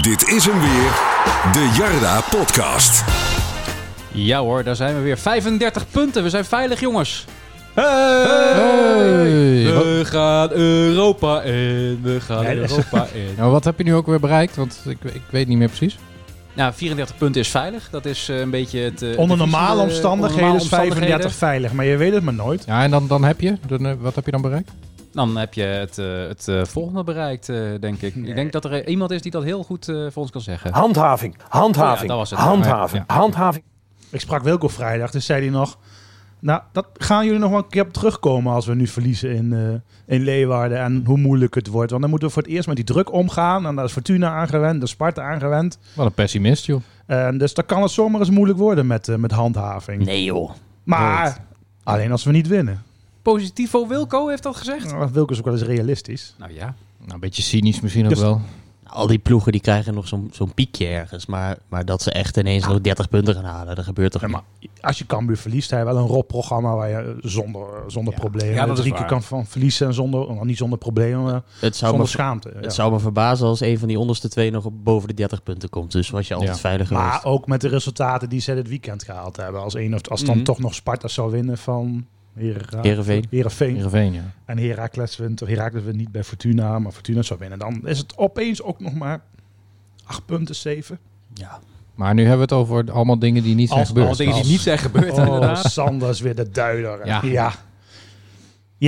Dit is hem weer, de Jarda Podcast. Ja hoor, daar zijn we weer. 35 punten, we zijn veilig jongens. We gaan Europa in, we gaan Nee, dat is- Europa in. Nou, wat heb je nu ook weer bereikt? Want ik, ik weet niet meer precies. Nou, 34 punten is veilig. Dat is eh, een beetje het... eh, Onder de normale visie, eh, omstandigheden onder is normale 35 omstandigheden. veilig, maar je weet het maar nooit. Ja, en dan, dan heb je, dan, eh, wat heb je dan bereikt? Dan heb je het, eh, het eh, volgende bereikt, eh, denk ik. Ik denk dat er eh, iemand is die dat heel goed eh, voor ons kan zeggen. Handhaving, handhaving, Ja, dat was het. handhaving, Ja. handhaving. Ik sprak Wilco vrijdag, dus zei hij nog... Nou, dat gaan jullie nog wel een keer op terugkomen als we nu verliezen in, eh, in Leeuwarden. En hoe moeilijk het wordt. Want dan moeten we voor het eerst met die druk omgaan. En daar is Fortuna aangewend, daar is Sparta aangewend. Wat een pessimist, joh. En dus dan kan het zomaar eens moeilijk worden met, eh, met handhaving. Nee joh. maar alleen als we niet winnen. Positivo Wilco heeft dat gezegd? Nou, Wilco is ook wel eens realistisch. Nou ja. Nou, een beetje cynisch misschien ook Dus- wel. Al die ploegen die krijgen nog zo'n zo'n piekje ergens. Maar, maar dat ze echt ineens nog 30 punten gaan halen, dat gebeurt toch Ja, maar niet? als je Cambuur verliest, hij wel een rotprogramma waar je eh, zonder, zonder problemen Ja, dat is drie waar. keer kan van verliezen en zonder, nou, niet zonder problemen, maar Het zou, me, zonder schaamte. ja. het zou me verbazen als een van die onderste twee nog op boven de 30 punten komt. Dus was je altijd Ja. veilig geweest. Maar ook met de resultaten die ze dit weekend gehaald hebben. Als, een of, als dan Mhm. toch nog Sparta zou winnen van Hera- Heerenveen. Heerenveen. Heerenveen, ja. En Heracles wint, of Heracles wint niet bij Fortuna, maar Fortuna zou winnen. Dan is het opeens ook nog maar 8 punten, 7. Ja. Maar nu hebben we het over allemaal dingen die niet zijn Als- gebeurd. Allemaal dingen die niet zijn gebeurd Oh, inderdaad. Sander is weer de duider. Ja. Ja. Je Ja,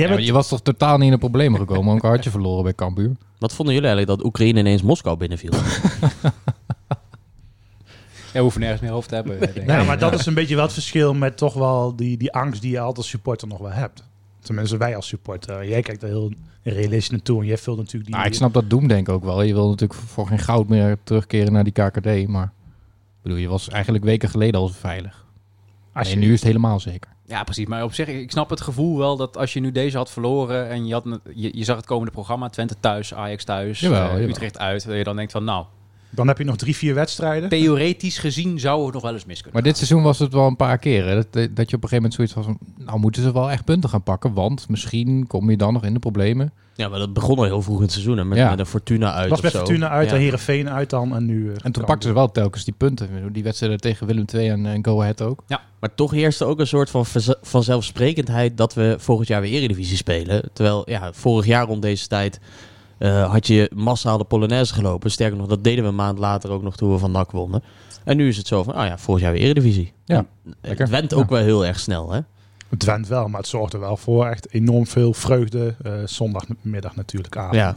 hebt maar je was toch totaal niet in een probleem gekomen? Ook al had je verloren bij Cambuur. Wat vonden jullie eigenlijk dat Oekraïne ineens Moskou binnenviel? Ja, hoeft nergens meer over te hebben. denk ik. ja, maar dat is een beetje wel het verschil met toch wel die, die angst die je altijd als supporter nog wel hebt. Tenminste, wij als supporter. Jij kijkt er heel realistisch naartoe en jij vult natuurlijk die... Nou, ik snap dat doemdenk ook wel. Je wil natuurlijk voor geen goud meer terugkeren naar die KKD. Maar ik bedoel, je was eigenlijk weken geleden al veilig. als je, en nu is het helemaal zeker. Ja, precies. Maar op zich, ik snap het gevoel wel dat als je nu deze had verloren en je, had, een- je, je zag het komende programma, Twente thuis, Ajax thuis, Jawel, eh, jawel. Utrecht uit, dat je dan denkt van nou, Dan heb je nog drie, vier wedstrijden. theoretisch gezien zou het nog wel eens mis kunnen. Maar dit seizoen was het wel een paar keer. Hè? Dat, dat je op een gegeven moment zoiets was van... Nou moeten ze wel echt punten gaan pakken. Want misschien kom je dan nog in de problemen. Ja, maar dat begon al heel vroeg in het seizoen. hè, Met, Ja. met een Fortuna uit was of bij zo. Fortuna uit, Ja. de Herenveen uit dan en nu... En eh, toen Cambuur. pakten ze wel telkens die punten. Die wedstrijden tegen Willem II en, en Go Ahead ook. Maar toch heerste ook een soort van verz- vanzelfsprekendheid dat we volgend jaar weer Eredivisie spelen. Terwijl ja, vorig jaar rond deze tijd eh, had je massaal de Polonaise gelopen. Sterker nog, dat deden we een maand later ook nog toen we van NAC wonnen. En nu is het zo van, ah ja, volgend jaar weer Eredivisie. Ja, En lekker. Het went ook Ja. wel heel erg snel, hè? Het went wel, maar het zorgt er wel voor echt enorm veel vreugde. eh, zondagmiddag natuurlijk, avond. Ja.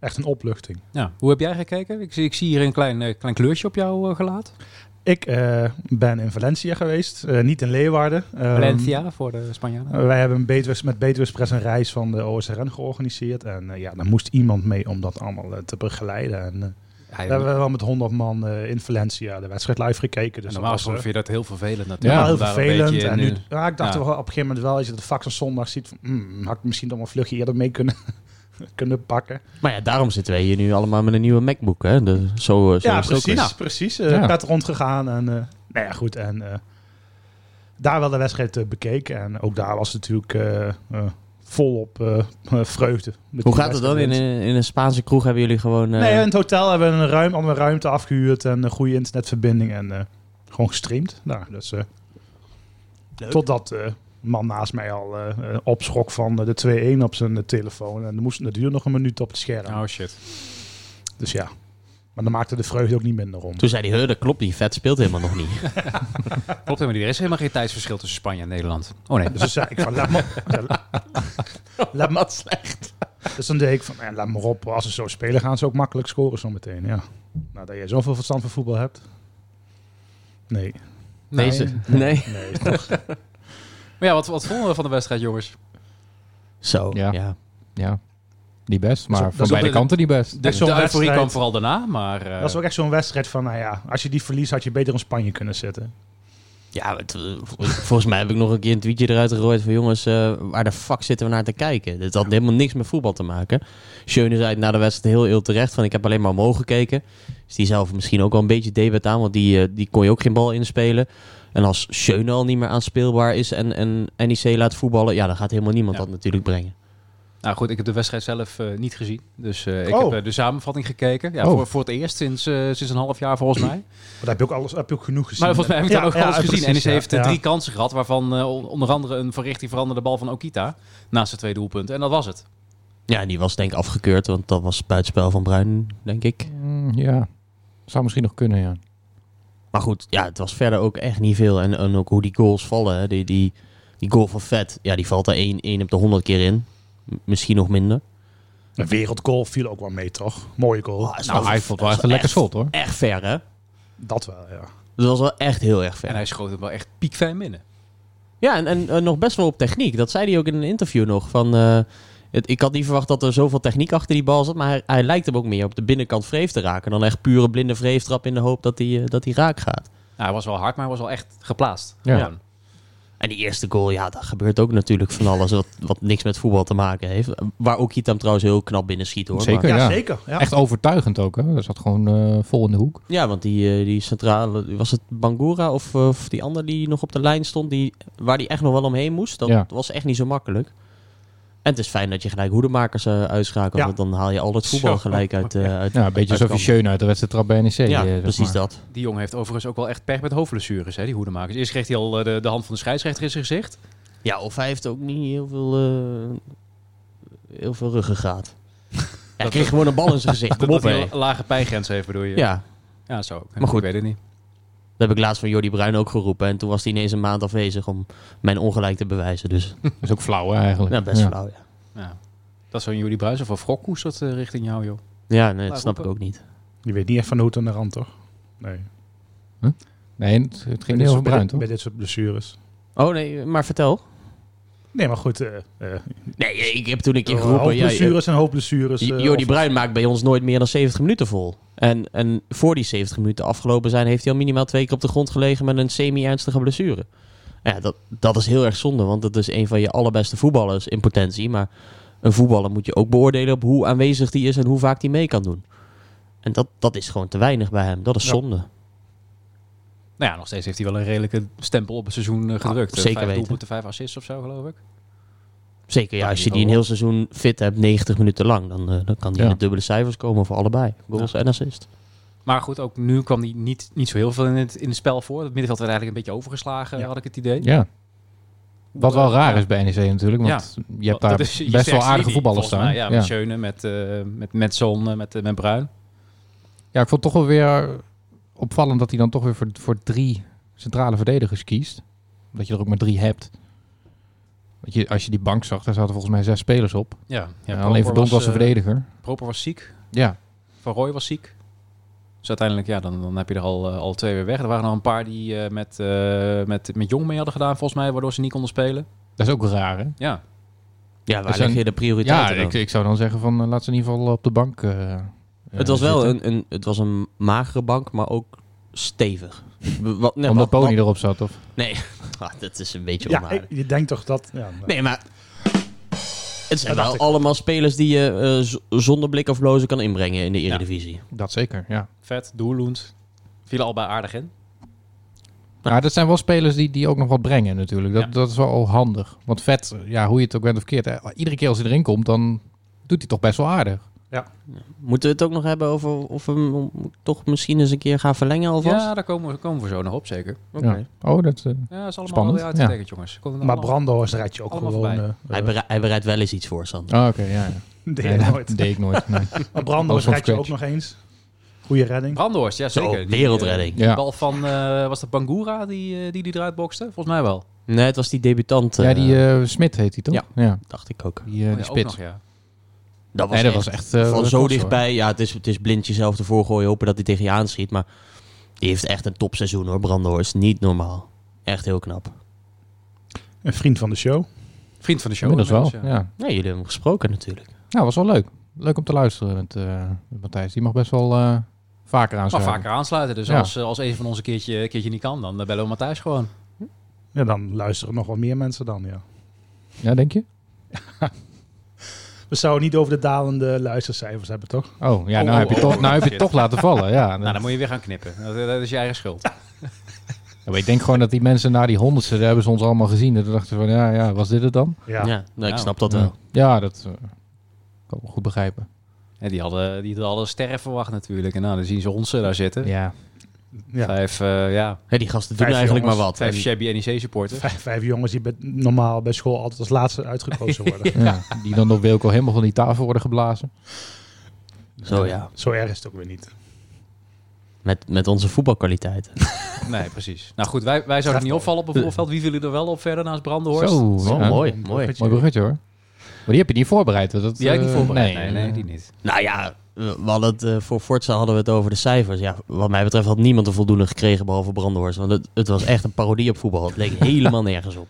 Echt een opluchting. Ja, hoe heb jij gekeken? Ik zie, ik zie hier een klein, eh, klein kleurtje op jouw eh, gelaat. Ik eh, ben in Valencia geweest, eh, niet in Leeuwarden. Ehm, Valencia voor de Spanjaarden. Uh, Wij hebben een Betuws- met Betuwes Press een reis van de OSRN georganiseerd. En eh, ja, daar moest iemand mee om dat allemaal eh, te begeleiden. En, eh, Hij- we hebben wel met 100 man eh, in Valencia de wedstrijd live gekeken. en Dus dat normaal was eh, vind je dat heel vervelend natuurlijk. Ja, wel Om heel daar een vervelend. beetje En in, nu, eh, ja, ik dacht ja. er wel op een gegeven moment wel, als je de fax van zondag ziet, van, hmm, had ik misschien dan wel een vlugje eerder mee kunnen, kunnen pakken. Maar ja, daarom zitten wij hier nu allemaal met een nieuwe MacBook, hè? De, zo, eh, zo ja, is het ook precies. weer. Nou, precies. Eh Ja. Pet rondgegaan en eh, nou ja, goed. En eh, daar wel de wedstrijd eh, bekeken. En ook daar was het natuurlijk eh, eh, volop eh, eh, vreugde. Met Hoe die gaat het dan? wedstrijd. In, in in een Spaanse kroeg hebben jullie gewoon... eh, Nee, in het hotel hebben we een ruim, andere ruimte afgehuurd en een goede internetverbinding en eh, gewoon gestreamd. Nou, dus, eh, totdat eh, een man naast mij al eh, eh, opschrok van eh, de 2-1 op zijn eh, telefoon. En er moest, dat duurde nog een minuut op het scherm. Oh shit. Dus ja. Maar dan maakte de vreugde ook niet minder om. Toen zei hij, "Huh, dat klopt niet, vet speelt helemaal nog niet. Klopt helemaal niet. Er is helemaal geen tijdsverschil tussen Spanje en Nederland. Oh nee. Dus toen zei ik van, laat maar, laat maar Dus dan deed ik van, eh, laat maar op. Als ze zo spelen gaan ze ook makkelijk scoren zometeen. Ja. Nou, dat jij zoveel verstand van voetbel hebt. Nee, Deze? Nee. nee. Maar ja, wat, wat vonden we van de wedstrijd jongens? Zo, Ja. ja. Ja, niet best. Dat Maar is ook- van dat is ook beide de- kanten niet best. De, is zo'n de euforie wedstrijd- kwam vooral daarna, maar... eh, Dat is ook echt zo'n wedstrijd van, nou ja, als je die verliest had je beter in Spanje kunnen zitten. Ja, het, eh, vol- volgens mij heb ik nog een keer een tweetje eruit gegooid van jongens, eh, waar de fuck zitten we naar te kijken? Dit had helemaal niks met voetbal te maken. Schöne zei het na de wedstrijd heel heel terecht van ik heb alleen maar omhoog gekeken. Dus die zelf misschien ook wel een beetje debet aan, want die, eh, die kon je ook geen bal inspelen. En als Schöne al niet meer aanspeelbaar is en, en NEC laat voetballen, ja, dan gaat helemaal niemand Ja. dat natuurlijk brengen. Nou goed, ik heb de wedstrijd zelf eh, niet gezien. Dus eh, ik Oh. heb eh, de samenvatting gekeken. Ja, Oh. voor, voor het eerst sinds, eh, sinds een half jaar volgens mij. Maar daar heb je ook, alles, heb je ook genoeg gezien. Maar volgens mij heb ik dan Ja, ook ja, alles gezien. precies, NEC ja. heeft eh, Ja. drie kansen gehad, waarvan eh, on- onder andere een verrichting veranderde bal van Okita. Naast de twee doelpunten. En dat was het. Ja, die was denk ik afgekeurd, want dat was buitenspel van Bruin, denk ik. Mm, ja, zou misschien nog kunnen, ja. Maar goed, ja, het was verder ook echt niet veel. En, en ook hoe die goals vallen. Hè. Die, die, die goal van Vet, ja, die valt er 1 één op de 100 keer in. M- misschien nog minder. Een wereldgoal viel ook wel mee, toch? Mooie goal. Maar het is Nou, wel- hij vond wel echt dat is een lekker schot, hoor. Echt ver, hè? Dat wel, ja. Dat was wel echt heel erg ver. En hij schoot hem wel echt piekfijn binnen. Ja, en, en eh, nog best wel op techniek. Dat zei hij ook in een interview nog. Van, eh, het, ik had niet verwacht dat er zoveel techniek achter die bal zat. Maar hij, hij lijkt hem ook meer op de binnenkant vreef te raken. Dan echt pure blinde vreeftrap in de hoop dat hij eh, dat hij raak gaat. Nou, hij was wel hard, maar hij was wel echt geplaatst. Ja. Gewoon. En die eerste goal, ja, daar gebeurt ook natuurlijk van alles wat, wat niks met voetbal te maken heeft. Waar ook hem trouwens heel knap binnen schiet hoor. Zeker. Maar- Ja, Ja. zeker. Ja. Echt overtuigend ook, hè. Dat zat gewoon eh, vol in de hoek. ja, want die, eh, die centrale, was het Bangura of, eh, of die ander die nog op de lijn stond, die, waar die echt nog wel omheen moest. Dat Ja. was echt niet zo makkelijk. En het is fijn dat je gelijk hoedemakers eh, uitschakelt, Ja. want dan haal je al dat voetbal Zo. gelijk uit, eh uit Ja, een beetje alsof je Uitkamp. Schöne uit de wedstrijd trap bij NEC. Ja, eh, zeg precies maar. dat. Die jongen heeft overigens ook wel echt pech met hoofdblessures, hè, die hoedemakers. Eerst kreeg hij al eh, de, de hand van de scheidsrechter in zijn gezicht. Ja, of hij heeft ook niet heel veel, eh heel veel ruggengraat. Ja, hij kreeg gewoon een bal in zijn gezicht. Kom Omdat op, hij hè. een lage pijngrens heeft, bedoel je? Ja, Ja, zo. ook. Maar goed. Ik weet het niet. dat heb ik laatst van Jordi Bruin ook geroepen. En toen was hij ineens een maand afwezig om mijn ongelijk te bewijzen. Dus Dat is ook flauw hè, eigenlijk. ja, best Ja. flauw, ja. Ja. Dat is zo'n Jullie Bruis of een Frokkoes dat eh, richting jou, joh. Ja, nee, Maar dat snap ik roepen. ook niet. Je weet niet echt van de hoed aan de rand, toch? Nee. Nee, het, het Bij ging dit heel soort- bij verbruind, dit- hoor. Bij dit soort blessures. Oh nee, maar vertel. Nee, maar goed. eh eh Nee, ik heb toen een keer geroepen... Ja, je- hoofdblessures en hoofdblessures. eh, Jordi of- Bruin maakt bij ons nooit meer dan 70 minuten vol. En, en voor die 70 minuten afgelopen zijn, heeft hij al minimaal twee keer op de grond gelegen met een semi-ernstige blessure. Ja, dat, dat is heel erg zonde, want dat is een van je allerbeste voetballers in potentie. Maar een voetballer moet je ook beoordelen op hoe aanwezig die is en hoe vaak die mee kan doen. En dat, dat is gewoon te weinig bij hem. Dat is Ja. zonde. Nou ja, nog steeds heeft hij wel een redelijke stempel op het seizoen Ah, eh, gedrukt. Eh, zeker vijf weten. doelpunten, vijf assists of zo, geloof ik. Zeker, ja, Kan als je niet die een hoor. heel seizoen fit hebt, 90 minuten lang, dan, eh, dan kan die Ja. in de dubbele cijfers komen voor allebei. Goals en assist. Maar goed, ook nu kwam hij niet, niet zo heel veel in het, in het spel voor. Het middenveld werd eigenlijk een beetje overgeslagen, Ja. had ik het idee. Ja. Wat wel raar is bij NEC natuurlijk, want je hebt Dat daar is je best wel sterkste aardige linie, voetballers volgens mij. staan. Ja, ja. met Schöne, met, eh, met, met Zon, eh, met, eh, met Bruin. Ja, ik vond het toch wel weer eh, opvallend dat hij dan toch weer voor, voor drie centrale verdedigers kiest. Omdat je er ook maar drie hebt. Want je, als je die bank zag, daar zaten volgens mij zes spelers op. Ja, ja, En Proper alleen Verdonk was de eh, verdediger. Proper was ziek, Ja, Van Roy was ziek. Dus uiteindelijk, ja, dan, dan heb je er al, eh, al twee weer weg. Er waren nog een paar die eh, met, eh, met, met Jong mee hadden gedaan, volgens mij, waardoor ze niet konden spelen. dat is ook raar hè? Ja, Ja, waar Dus dan- leg je de Ja, prioriteiten dan? ik, ik zou dan zeggen van eh, laat ze in ieder geval op de bank eh, eh, Het was wel zitten. een, een, het was een magere bank, maar ook stevig. W- Wat, nee, Omdat wat- Pony wat- erop zat, of? Nee, ah, dat is een beetje Ja, onaardig. ik- je denkt toch dat... Ja, nou, Nee, maar... Het zijn Dat dacht wel ik. allemaal spelers die je eh, z- zonder blik of blozen kan inbrengen in de Eredivisie. Dat zeker, ja. vet, doelloend. Vielen allebei aardig in. Maar dat zijn wel spelers die, die ook nog wat brengen natuurlijk. Dat, Ja. dat is wel handig. Want vet, ja, hoe je het ook bent of keert, hè, iedere keer als hij erin komt, dan doet hij toch best wel aardig. Moeten we het ook nog hebben over of we hem toch misschien eens een keer gaan verlengen alvast? Ja, daar komen we, komen we zo nog op, zeker. Oké. Ja. Oh, dat... eh, Ja, dat is allemaal Spannend, weer uitgetekend, jongens. Komt er Maar allemaal- Brandhorst red je ook Allemaal gewoon... voorbij. eh, Hij, eh, berei- hij bereidt wel eens iets voor, Sander. Oh, oké, ja. ja. deed Nee, hij dat nooit. deed ik nooit. nee. Maar Brandhorst Ook van red je ook scratch. nog eens. Goeie redding. Brandhorst, ja, Zo, zeker. Die, wereldredding. eh, Die, Ja. bal van, eh, was dat Bangura die, eh, die die eruit bokste? Volgens mij wel. Nee, het was die debutant, eh, ja, die eh, Smit heet hij toch? ja. ja. dacht ik ook. Die, eh, Oh ja, die ook spits. nog, ja. Dat was nee, dat echt was echt... eh, van kost, zo hoor. dichtbij. Ja, het is, het is blind jezelf ervoor gooien, hopen dat hij tegen je aanschiet. Maar die heeft echt een topseizoen hoor, Brandhorst. Niet normaal. Echt heel knap. Een vriend van de show. Vriend van de show. Inmiddels wel, inmiddels, ja. ja. Ja, jullie hebben hem gesproken natuurlijk. Nou, was wel leuk. Leuk om te luisteren met, eh, met Matthijs. Die mag best wel eh, vaker Maar aanschuiven. vaker aansluiten. Dus Ja. als, eh, als een van ons een keertje, een keertje niet kan, dan eh, bellen we Matthijs gewoon. Ja, dan luisteren nog wel meer mensen dan, ja. Ja, denk je? We zouden niet over de dalende luistercijfers hebben, toch? Oh, ja, Oh, nou, oh, heb je oh, toch, oh, nou heb je shit. het toch laten vallen. Ja, Nou, dan moet je weer gaan knippen. Dat, eh, dat is je eigen schuld. Ja, maar ik denk gewoon dat die mensen na die honderdste, daar hebben ze ons allemaal gezien. En toen dachten ze van, ja, ja was dit het dan? Ja. Ja, nou, Ja. ik snap dat ja. wel. Ja, dat... eh, kan ik me goed begrijpen. Ja, die, hadden, die hadden sterren verwacht natuurlijk. En nou, dan zien ze ons eh, daar zitten. Ja. Ja, Vijf, eh, ja, nou Hè, die gasten doen Vijf eigenlijk jongens, maar wat. vijf En- shabby NEC-supporters. vijf, vijf jongens die bij- normaal bij school altijd als laatste uitgekozen worden. Ja, die dan door Wilco helemaal van die tafel worden geblazen. Zo ja, Zo erg is het ook weer niet. met, met onze voetbalkwaliteit. Nee, precies. Nou goed, wij, wij zouden niet opvallen op een voetbalveld. Wie willen er wel op verder naast Brandenhorst? Zo, ja. mooi, Een mooi. Mooi bruggetje hoor. Maar die heb je niet voorbereid. hè? Dat, Die heb ik niet eh, voorbereid. Nee, nee, die niet. Nou ja, we hadden het, eh, voor Forza hadden we het over de cijfers. Ja, wat mij betreft had niemand een voldoende gekregen behalve Brandhorst. Want het, het was echt een parodie op voetbal. Het leek helemaal nergens op.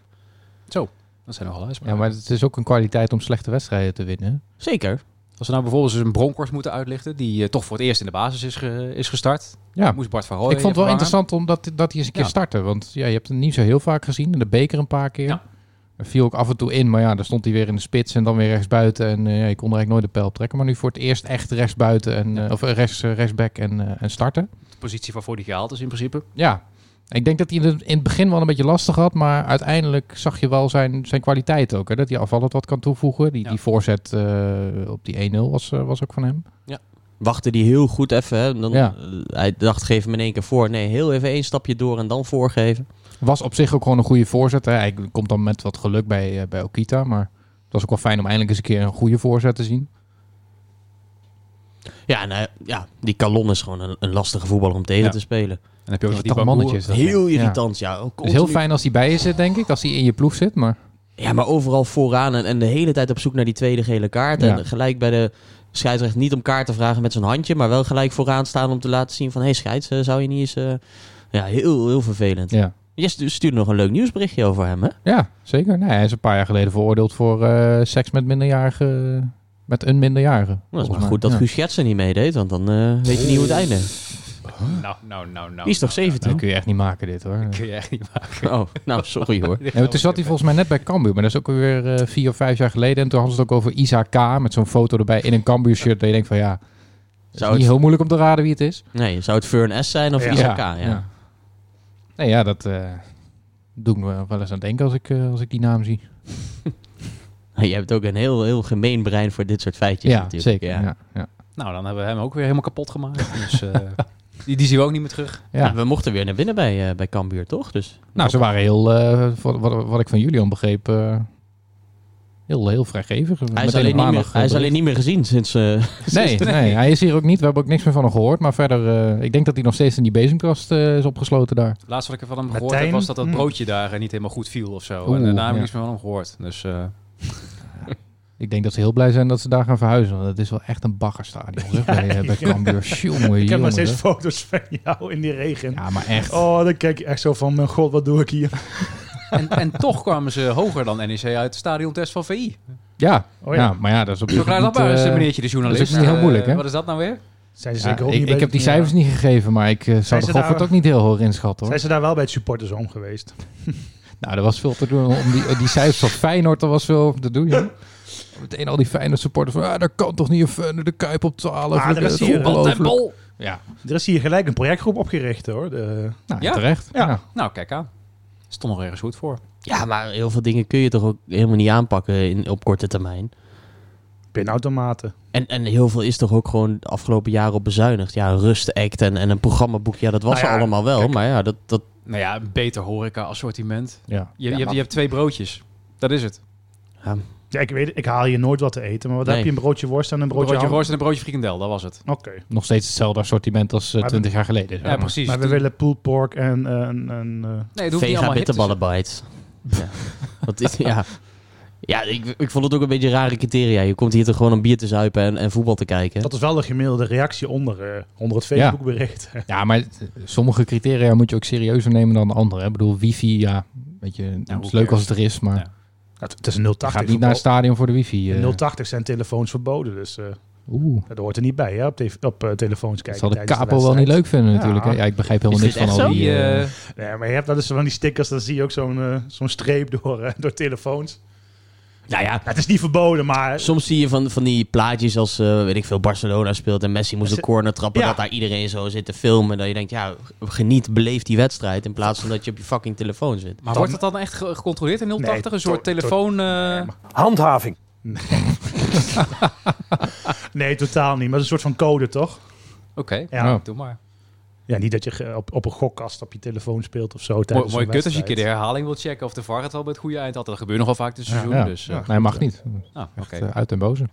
Dat zijn nogal uitspraken. Ja, maar het is ook een kwaliteit om slechte wedstrijden te winnen. Zeker. Als we nou bijvoorbeeld eens een Bronkhorst moeten uitlichten, die eh, toch voor het eerst in de basis is, ge- is gestart. Ja, Moest Bart van Rooij ik vond het wel vervangen. interessant om dat, dat hij eens een keer Ja. startte. Want ja, je hebt hem niet zo heel vaak gezien. In de beker een paar keer. Ja. Er viel ook af en toe in. Maar ja, daar stond hij weer in de spits en dan weer rechtsbuiten. En eh, ja, je kon er eigenlijk nooit de pijl op trekken. Maar nu voor het eerst echt rechtsbuiten. En, eh, of eh, rechts, eh, rechtsback en, eh, en starten. De positie waarvoor die gehaald is in principe. Ja, ik denk dat hij het in het begin wel een beetje lastig had. Maar uiteindelijk zag je wel zijn, zijn kwaliteit ook. Hè? Dat hij afvallend wat kan toevoegen. Die, Ja. die voorzet eh, op die 1-0 was, eh, was ook van hem. Wachtte die heel goed even. Hè? En Dan, Ja. eh, hij dacht, geef hem in één keer voor. Nee, heel even één stapje door en dan voorgeven. Was op zich ook gewoon een goede voorzet. Hè. Hij komt dan met wat geluk bij, eh, bij Okita. Maar het was ook wel fijn om eindelijk eens een keer een goede voorzet te zien. Ja, en, hij- ja die Calon is gewoon een, een lastige voetballer om tegen Ja. te spelen. En dan heb je ook nog die Toch Bakour. mannetjes. dat Heel zijn. Ja. irritant, ja. ook Het is heel continu- fijn als hij bij je zit, denk ik. Als hij in je ploeg zit. Maar Ja, maar overal vooraan en, en de hele tijd op zoek naar die tweede gele kaart. Ja. En gelijk bij de scheidsrechter niet om kaart te vragen met zijn handje, maar wel gelijk vooraan staan om te laten zien van... Hé hey, scheids, eh, zou je niet eens... eh, Ja, heel, heel vervelend. ja, Je stu- stuurde nog een leuk nieuwsberichtje over hem, hè? ja zeker. Nee, hij is een paar jaar geleden veroordeeld voor eh, seks met minderjarige. Met een minderjarige. Nou, Dat is volgens maar mij. goed dat Ja. Guus Gertsen niet meedeed, want dan eh, weet je niet hoe het einde. Nou, nou, nou, nou. Die is toch nou, 17? Dat kun je echt niet maken, dit hoor. nou. Kun je echt niet maken. Oh, nou, sorry hoor. Ja, maar toen zat hij volgens mij net bij Cambuur. Maar dat is ook weer eh, vier of vijf jaar geleden. En toen hadden ze het ook over Isaac K. Met zo'n foto erbij in een Cambuur shirt. Dat je denkt van ja, het is Zou niet het- heel moeilijk om te raden wie het is. Nee, zou het Fern S zijn of Ja. Isaac K? Ja. Nee, ja, dat eh doet me wel eens aan denken als ik, eh, als ik die naam zie. Je hebt ook een heel, heel gemeen brein voor dit soort feitjes ja, natuurlijk. zeker. Ja. Ja. Ja, ja. Nou, dan hebben we hem ook weer helemaal kapot gemaakt. Dus, eh, die, die zien we ook niet meer terug. We mochten weer naar binnen bij, eh bij Cambuur, toch? Dus Nou, ze waren heel, eh, wat, wat, wat ik van Julian begreep, eh, heel, heel vrijgevig. hij Meteen is, op alleen niet, meer, maandag, hij is eh, alleen niet meer gezien sinds... eh, Nee, nee, hij is hier ook niet. We hebben ook niks meer van hem gehoord. Maar verder, eh, ik denk dat hij nog steeds in die bezemkast eh, is opgesloten daar. Laatst wat ik van hem Martijn? gehoord heb, was dat dat Mm. broodje daar eh, niet helemaal goed viel of zo. Hm. Oeh, en daarna heb ja. ik niks meer van hem gehoord. Dus eh, Ik denk dat ze heel blij zijn dat ze daar gaan verhuizen. Want het is wel echt een baggerstadion zeg, bij, eh, bij ja. Cambuur. Jongen, Ik heb nog jongen, steeds zeg. foto's van jou in die regen. Ja, maar echt. Oh, dan kijk je echt zo van, mijn god, wat doe ik hier? en, en toch kwamen ze hoger dan NEC uit de stadiontest van VI. Ja. Oh ja. ja. maar ja, dat is op Zo zich klaar niet, dat maar eens, eh, meneertje de journalist. dat is ook niet heel Eh, moeilijk, hè? Wat is dat nou weer? Zijn ze ja, zeker ook ik, Dus niet ik heb die cijfers niet gegeven, maar ik eh, zou Zijn de ze Goffert daar- ook niet heel hoog inschatten hoor. Zijn ze daar wel bij het supportersom geweest? Nou, er was veel te doen. Om die, die cijfers van Feyenoord, er was veel te doen. joh. Meteen al die Feyenoord supporters van, ah, dat kan toch niet een Feyenoord de Kuip op 12. Ah, er Dat is hier een ongelooflijk. Tempel. Ja, Er is hier gelijk een projectgroep opgericht hoor. De, nou, Ja? terecht. Ja. Ja. Nou, kijk aan. Stond nog ergens goed voor. Ja, maar heel veel dingen kun je toch ook helemaal niet aanpakken in, op korte termijn. pinautomaten. En, en heel veel is toch ook gewoon de afgelopen jaren op bezuinigd. Ja, een rustact en, en een programmaboek, ja, dat was Nou ja, er allemaal wel. kijk. Maar ja, dat, dat, Nou ja, een beter horeca-assortiment. Ja. Je, je, Ja, hebt, je hebt twee broodjes. Dat is het. ja, Ja, ik weet, ik haal hier nooit wat te eten, maar wat Nee. heb je? Een broodje worst en een Broodje, broodje, broodje ham? roos en een broodje frikandel, dat was het. Oké. Nog steeds hetzelfde assortiment als Maar- 20 jaar geleden. zeg Ja, maar. precies. Maar we willen pulled pork en... eh, en, en, Nee, eh, het hoeft niet vega allemaal hip te bitterballen bites. Ja, Wat is- ja. ja ik, ik vond het ook een beetje rare criteria. Je komt hier toch gewoon om bier te zuipen en, en voetbal te kijken. dat is wel de gemiddelde reactie onder, eh, onder het Facebook bericht. Ja, maar het- sommige criteria moet je ook serieuzer nemen dan de andere. Ik bedoel, wifi, ja, weet je, het who is leuk als cares? het er is, maar Ja. Het, het is een je 080. gaat niet naar het voetbal. stadion voor de wifi. eh. In 080 zijn telefoons verboden, dus eh, Oeh. dat hoort er niet bij hè, op, tv op eh, telefoons Dat kijken. zal de tijdens capo wel niet wedstrijd. leuk vinden natuurlijk. Ja. hè. Ja, ik begrijp helemaal Is niks dit van echt al zo? die... eh, Nee, maar je hebt wel eens van die stickers, dan zie je ook zo'n eh, zo'n streep door, eh, door telefoons. nou ja, Nou, het is niet verboden, maar soms zie je van, van die plaatjes als, eh, weet ik veel, Barcelona speelt en Messi moest Ze- de corner trappen. Ja. Dat daar iedereen zo zit te filmen. Dat je denkt, ja, geniet, beleef die wedstrijd. In plaats van dat je op je fucking telefoon zit. Maar wordt het dan echt ge- gecontroleerd in 080? Nee, een soort to- to- telefoon... eh, maar- Handhaving. Nee, totaal niet. Maar het is een soort van code, toch? Oké, Ja. Oh. doe maar. Ja, niet dat je ge- op, op een gokkast op je telefoon speelt of zo. Mooi, tijdens mooi een kut als je een keer de wedstrijd. herhaling wilt checken of de VAR het al bij het goede eind had. Dat gebeurt nogal vaak dit seizoen. Ja. Dus, eh, Nee, mag niet. nou, Echt oké. eh, uit en boze.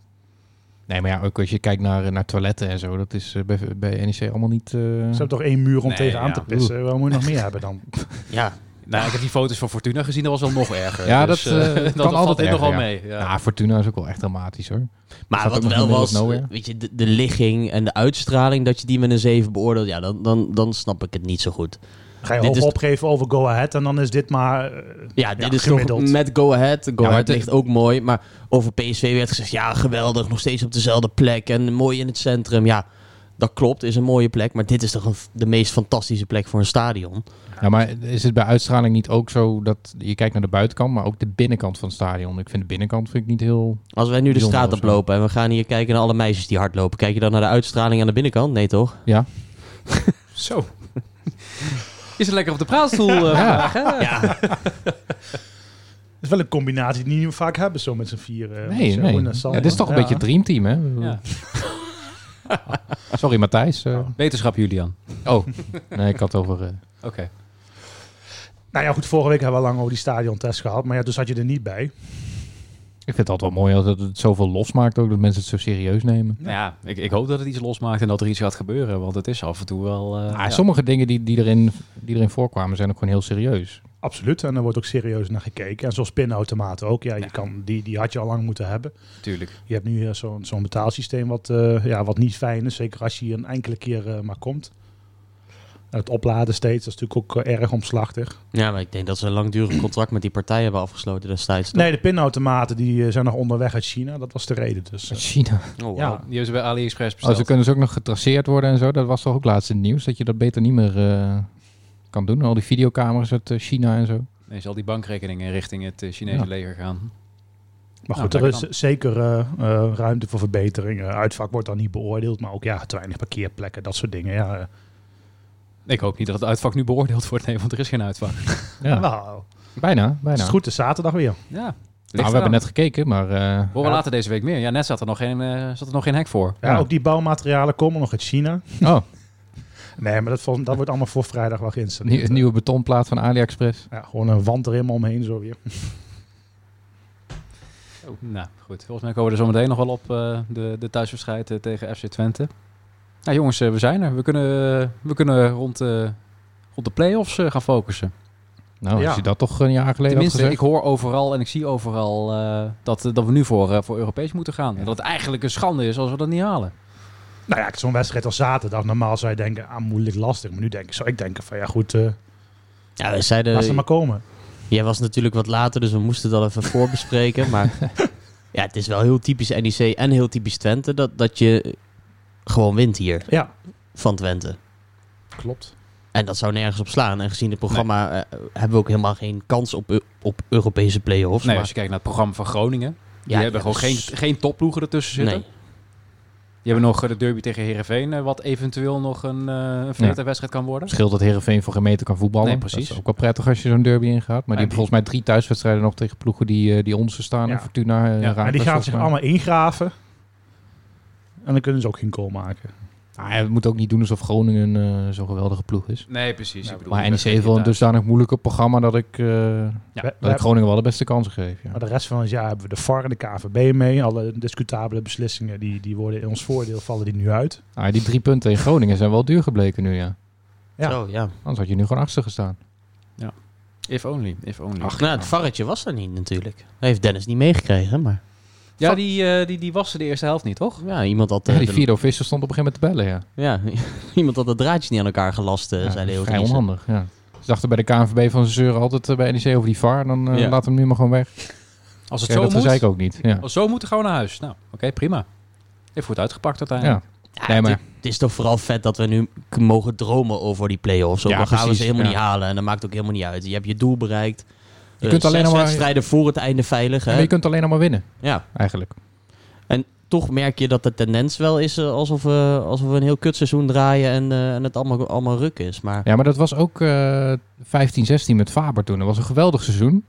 Nee, maar ja, ook als je kijkt naar, eh, naar toiletten en zo, dat is eh, bij, bij NEC allemaal niet... eh, Ze hebben toch één muur om Nee, tegenaan ja. te pissen. Waarom moet je nog meer hebben dan? Ja, Nou, ik heb die foto's van Fortuna gezien, dat was wel nog erger. Ja, Dus, dat, eh, eh, kan valt altijd dit nogal erger, mee. Ja. Nou, Fortuna is ook wel echt dramatisch hoor. maar Staat ook nog wat in wel the middle was, of nowhere. weet je, de, de ligging en de uitstraling, dat je die met een 7 beoordeelt, ja, dan, dan, dan snap ik het niet zo goed. Ga je Dit op- is- opgeven over Go Ahead en dan is dit maar... eh, Ja, dit Ja, is gemiddeld. toch met Go Ahead. Go maar Ahead het- ligt ook mooi. Maar over PSV werd gezegd, ja, geweldig. Nog steeds op dezelfde plek en mooi in het centrum. Ja, dat klopt, is een mooie plek. Maar dit is toch een f- de meest fantastische plek voor een stadion. Ja, maar is het bij uitstraling niet ook zo dat je kijkt naar de buitenkant, maar ook de binnenkant van het stadion? Ik vind de binnenkant vind ik niet heel. Als wij nu de Bijzonder straat of zo. oplopen en we gaan hier kijken naar alle meisjes die hardlopen. Kijk je dan naar de uitstraling aan de binnenkant? Nee, toch? Ja. Zo. Is het lekker op de praatstoel eh, vandaag, hè? Ja, Het is wel een combinatie die we vaak hebben zo met z'n vieren. Nee, nee. Ja, dit is toch een beetje het dreamteam, hè? Ja. Sorry, Matthijs. eh. Wetenschap, Julian. Oh, nee, ik had het over. eh, Oké. Nou ja, goed, vorige week hebben we lang over die stadiontest gehad. Maar ja, dus had je er niet bij. ik vind het altijd wel mooi als het- het zoveel losmaakt ook, dat mensen het zo serieus nemen. Nou ja, ik, ik hoop dat het iets losmaakt en dat er iets gaat gebeuren. Want het is af en toe wel... eh, Ah, ja. Sommige dingen die, die, erin, die erin voorkwamen zijn ook gewoon heel serieus. Absoluut. En er wordt ook serieus naar gekeken. En zoals pinautomaten ook. Ja, je Kan, die, die had je al lang moeten hebben. Tuurlijk. Je hebt nu eh, zo'n zo'n betaalsysteem wat, eh, ja, wat niet fijn is. Zeker als je hier een enkele keer eh, maar komt. En het opladen steeds, dat is natuurlijk ook eh, erg omslachtig. ja maar ik denk dat ze een langdurig contract met die partij hebben afgesloten destijds. Nee, de pinautomaten die eh, zijn nog onderweg uit China. Dat was de reden dus. eh. China. Oh, Ja, wauw. die hebben ze bij AliExpress Oh, besteld. ze kunnen dus ook nog getraceerd worden en zo. Dat was toch ook laatst in het nieuws, dat je dat beter niet meer eh, kan doen. Al die videocameras uit eh, China en zo. Nee, zal die bankrekeningen richting het eh, Chinese Ja. leger gaan. Maar Nou, goed, er lekker is zeker eh, eh, ruimte voor verbeteringen. Uitvak wordt dan niet beoordeeld, maar ook ja, te weinig parkeerplekken, dat soort dingen. Ja, eh. Ik hoop niet dat het uitvak nu beoordeeld wordt. Nee, want er is geen uitvak. Ja, Nou, bijna, is bijna. het goed, de zaterdag weer. Ja. ligt Nou, eraan. we hebben net gekeken, maar... eh, Horen we Ja. later deze week meer. Ja, net zat er nog geen, eh, zat er nog geen hek voor. Ja, Ja. Ook die bouwmaterialen komen nog uit China. oh, Nee, maar dat, vol- dat wordt allemaal voor vrijdag wel geïnstalleerd. nieuw, nieuwe betonplaat van AliExpress. Ja, gewoon een wand er helemaal omheen zo weer. Nou, goed. Volgens mij komen we er zometeen nog wel op eh, de, de thuiswedstrijd eh, tegen FC Twente. Nou jongens, eh, we zijn er. We kunnen, we kunnen rond, eh, rond de play-offs eh, gaan focussen. Nou, Ja. als je dat toch een jaar geleden Tenminste, had ik gezegd. hoor overal en ik zie overal eh, dat, dat we nu voor, eh, voor Europees moeten gaan. En dat het eigenlijk een schande is als we dat niet halen. Nou ja, zo'n wedstrijd als zaterdag, normaal zou je denken, ah, moeilijk, lastig. Maar nu denk ik, zou ik denken van, ja goed, eh Ja, we zeiden... laat ze maar komen. Jij was natuurlijk wat later, dus we moesten dat even voorbespreken. Maar ja, het is wel heel typisch NEC en heel typisch Twente dat, dat je gewoon wint hier Ja, van Twente. klopt. En dat zou nergens op slaan. En gezien het programma eh, hebben we ook helemaal geen kans op, Eu- op Europese play-offs. Nee, maar- als je kijkt naar het programma van Groningen. Die Ja, hebben ja, gewoon geen, dus- geen topploegen ertussen zitten. nee. Die hebben nog eh, de derby tegen Herenveen, wat eventueel nog een eh wedstrijd kan worden. Scheelt dat Herenveen voor geen meter kan voetballen. Nee, precies. Dat is ook wel prettig als je zo'n derby ingaat. Maar die die- hebben volgens mij drie thuiswedstrijden nog tegen ploegen die, eh die onze staan. Ja. En Fortuna, Ja, maar eh, En die Raakles, gaan volgens zich mij. allemaal ingraven. En dan kunnen ze ook geen goal maken. Nou, ja, we moeten ook niet doen alsof Groningen eh, zo'n geweldige ploeg is. Nee, precies. Ik bedoel, Maar NEC die heeft wel een wedstrijd dusdanig moeilijker programma dat ik, eh, Ja, We- we dat ik hebben- Groningen wel de beste kansen geef. Ja. Maar de rest van het jaar hebben we de VAR en de KVB mee. Alle discutabele beslissingen die, die worden in ons voordeel vallen die nu uit. Ah, die drie punten in Groningen zijn wel duur gebleken nu, ja. Ja. Zo, ja. Anders had je nu gewoon achter gestaan. daar. dus- If only, if only. Ach, nou, het varretje was er niet natuurlijk. Dat heeft Dennis niet meegekregen, maar Ja, die, eh, die, die was er de eerste helft niet, toch? ja, iemand had... eh, Ja, die de- vierde official stond op een gegeven moment te bellen, ja. ja, iemand had dat draadje niet aan elkaar gelast, eh Ja, zei dat is Leo vrij Driessen. onhandig, ja. Ze dachten bij de KNVB van ze zeuren altijd eh, bij NEC over die VAR. Dan eh, Ja. laat hem nu maar gewoon weg. Als het Kijk, zo dat moet, zei ik ook niet. Ja. als zo moet, dan gaan we naar huis. Nou, oké, prima. Heeft goed uitgepakt uiteindelijk. Ja. Ja, Nee, maar- het, het is toch vooral vet dat we nu k- mogen dromen over die play-offs. Ook Ja, al gaan we precies, ze helemaal ja. niet halen. En dat maakt ook helemaal niet uit. Je hebt je doel bereikt. Je kunt alleen nog maar- wedstrijden voor het einde veilig. Hè? Maar je kunt alleen nog maar winnen, Ja. eigenlijk. En toch merk je dat de tendens wel is eh, alsof we, alsof we een heel kutseizoen draaien en, eh, en het allemaal, allemaal ruk is. Maar Mhm. Ja, maar dat was ook eh 15-16 met Faber toen. Dat was een geweldig seizoen.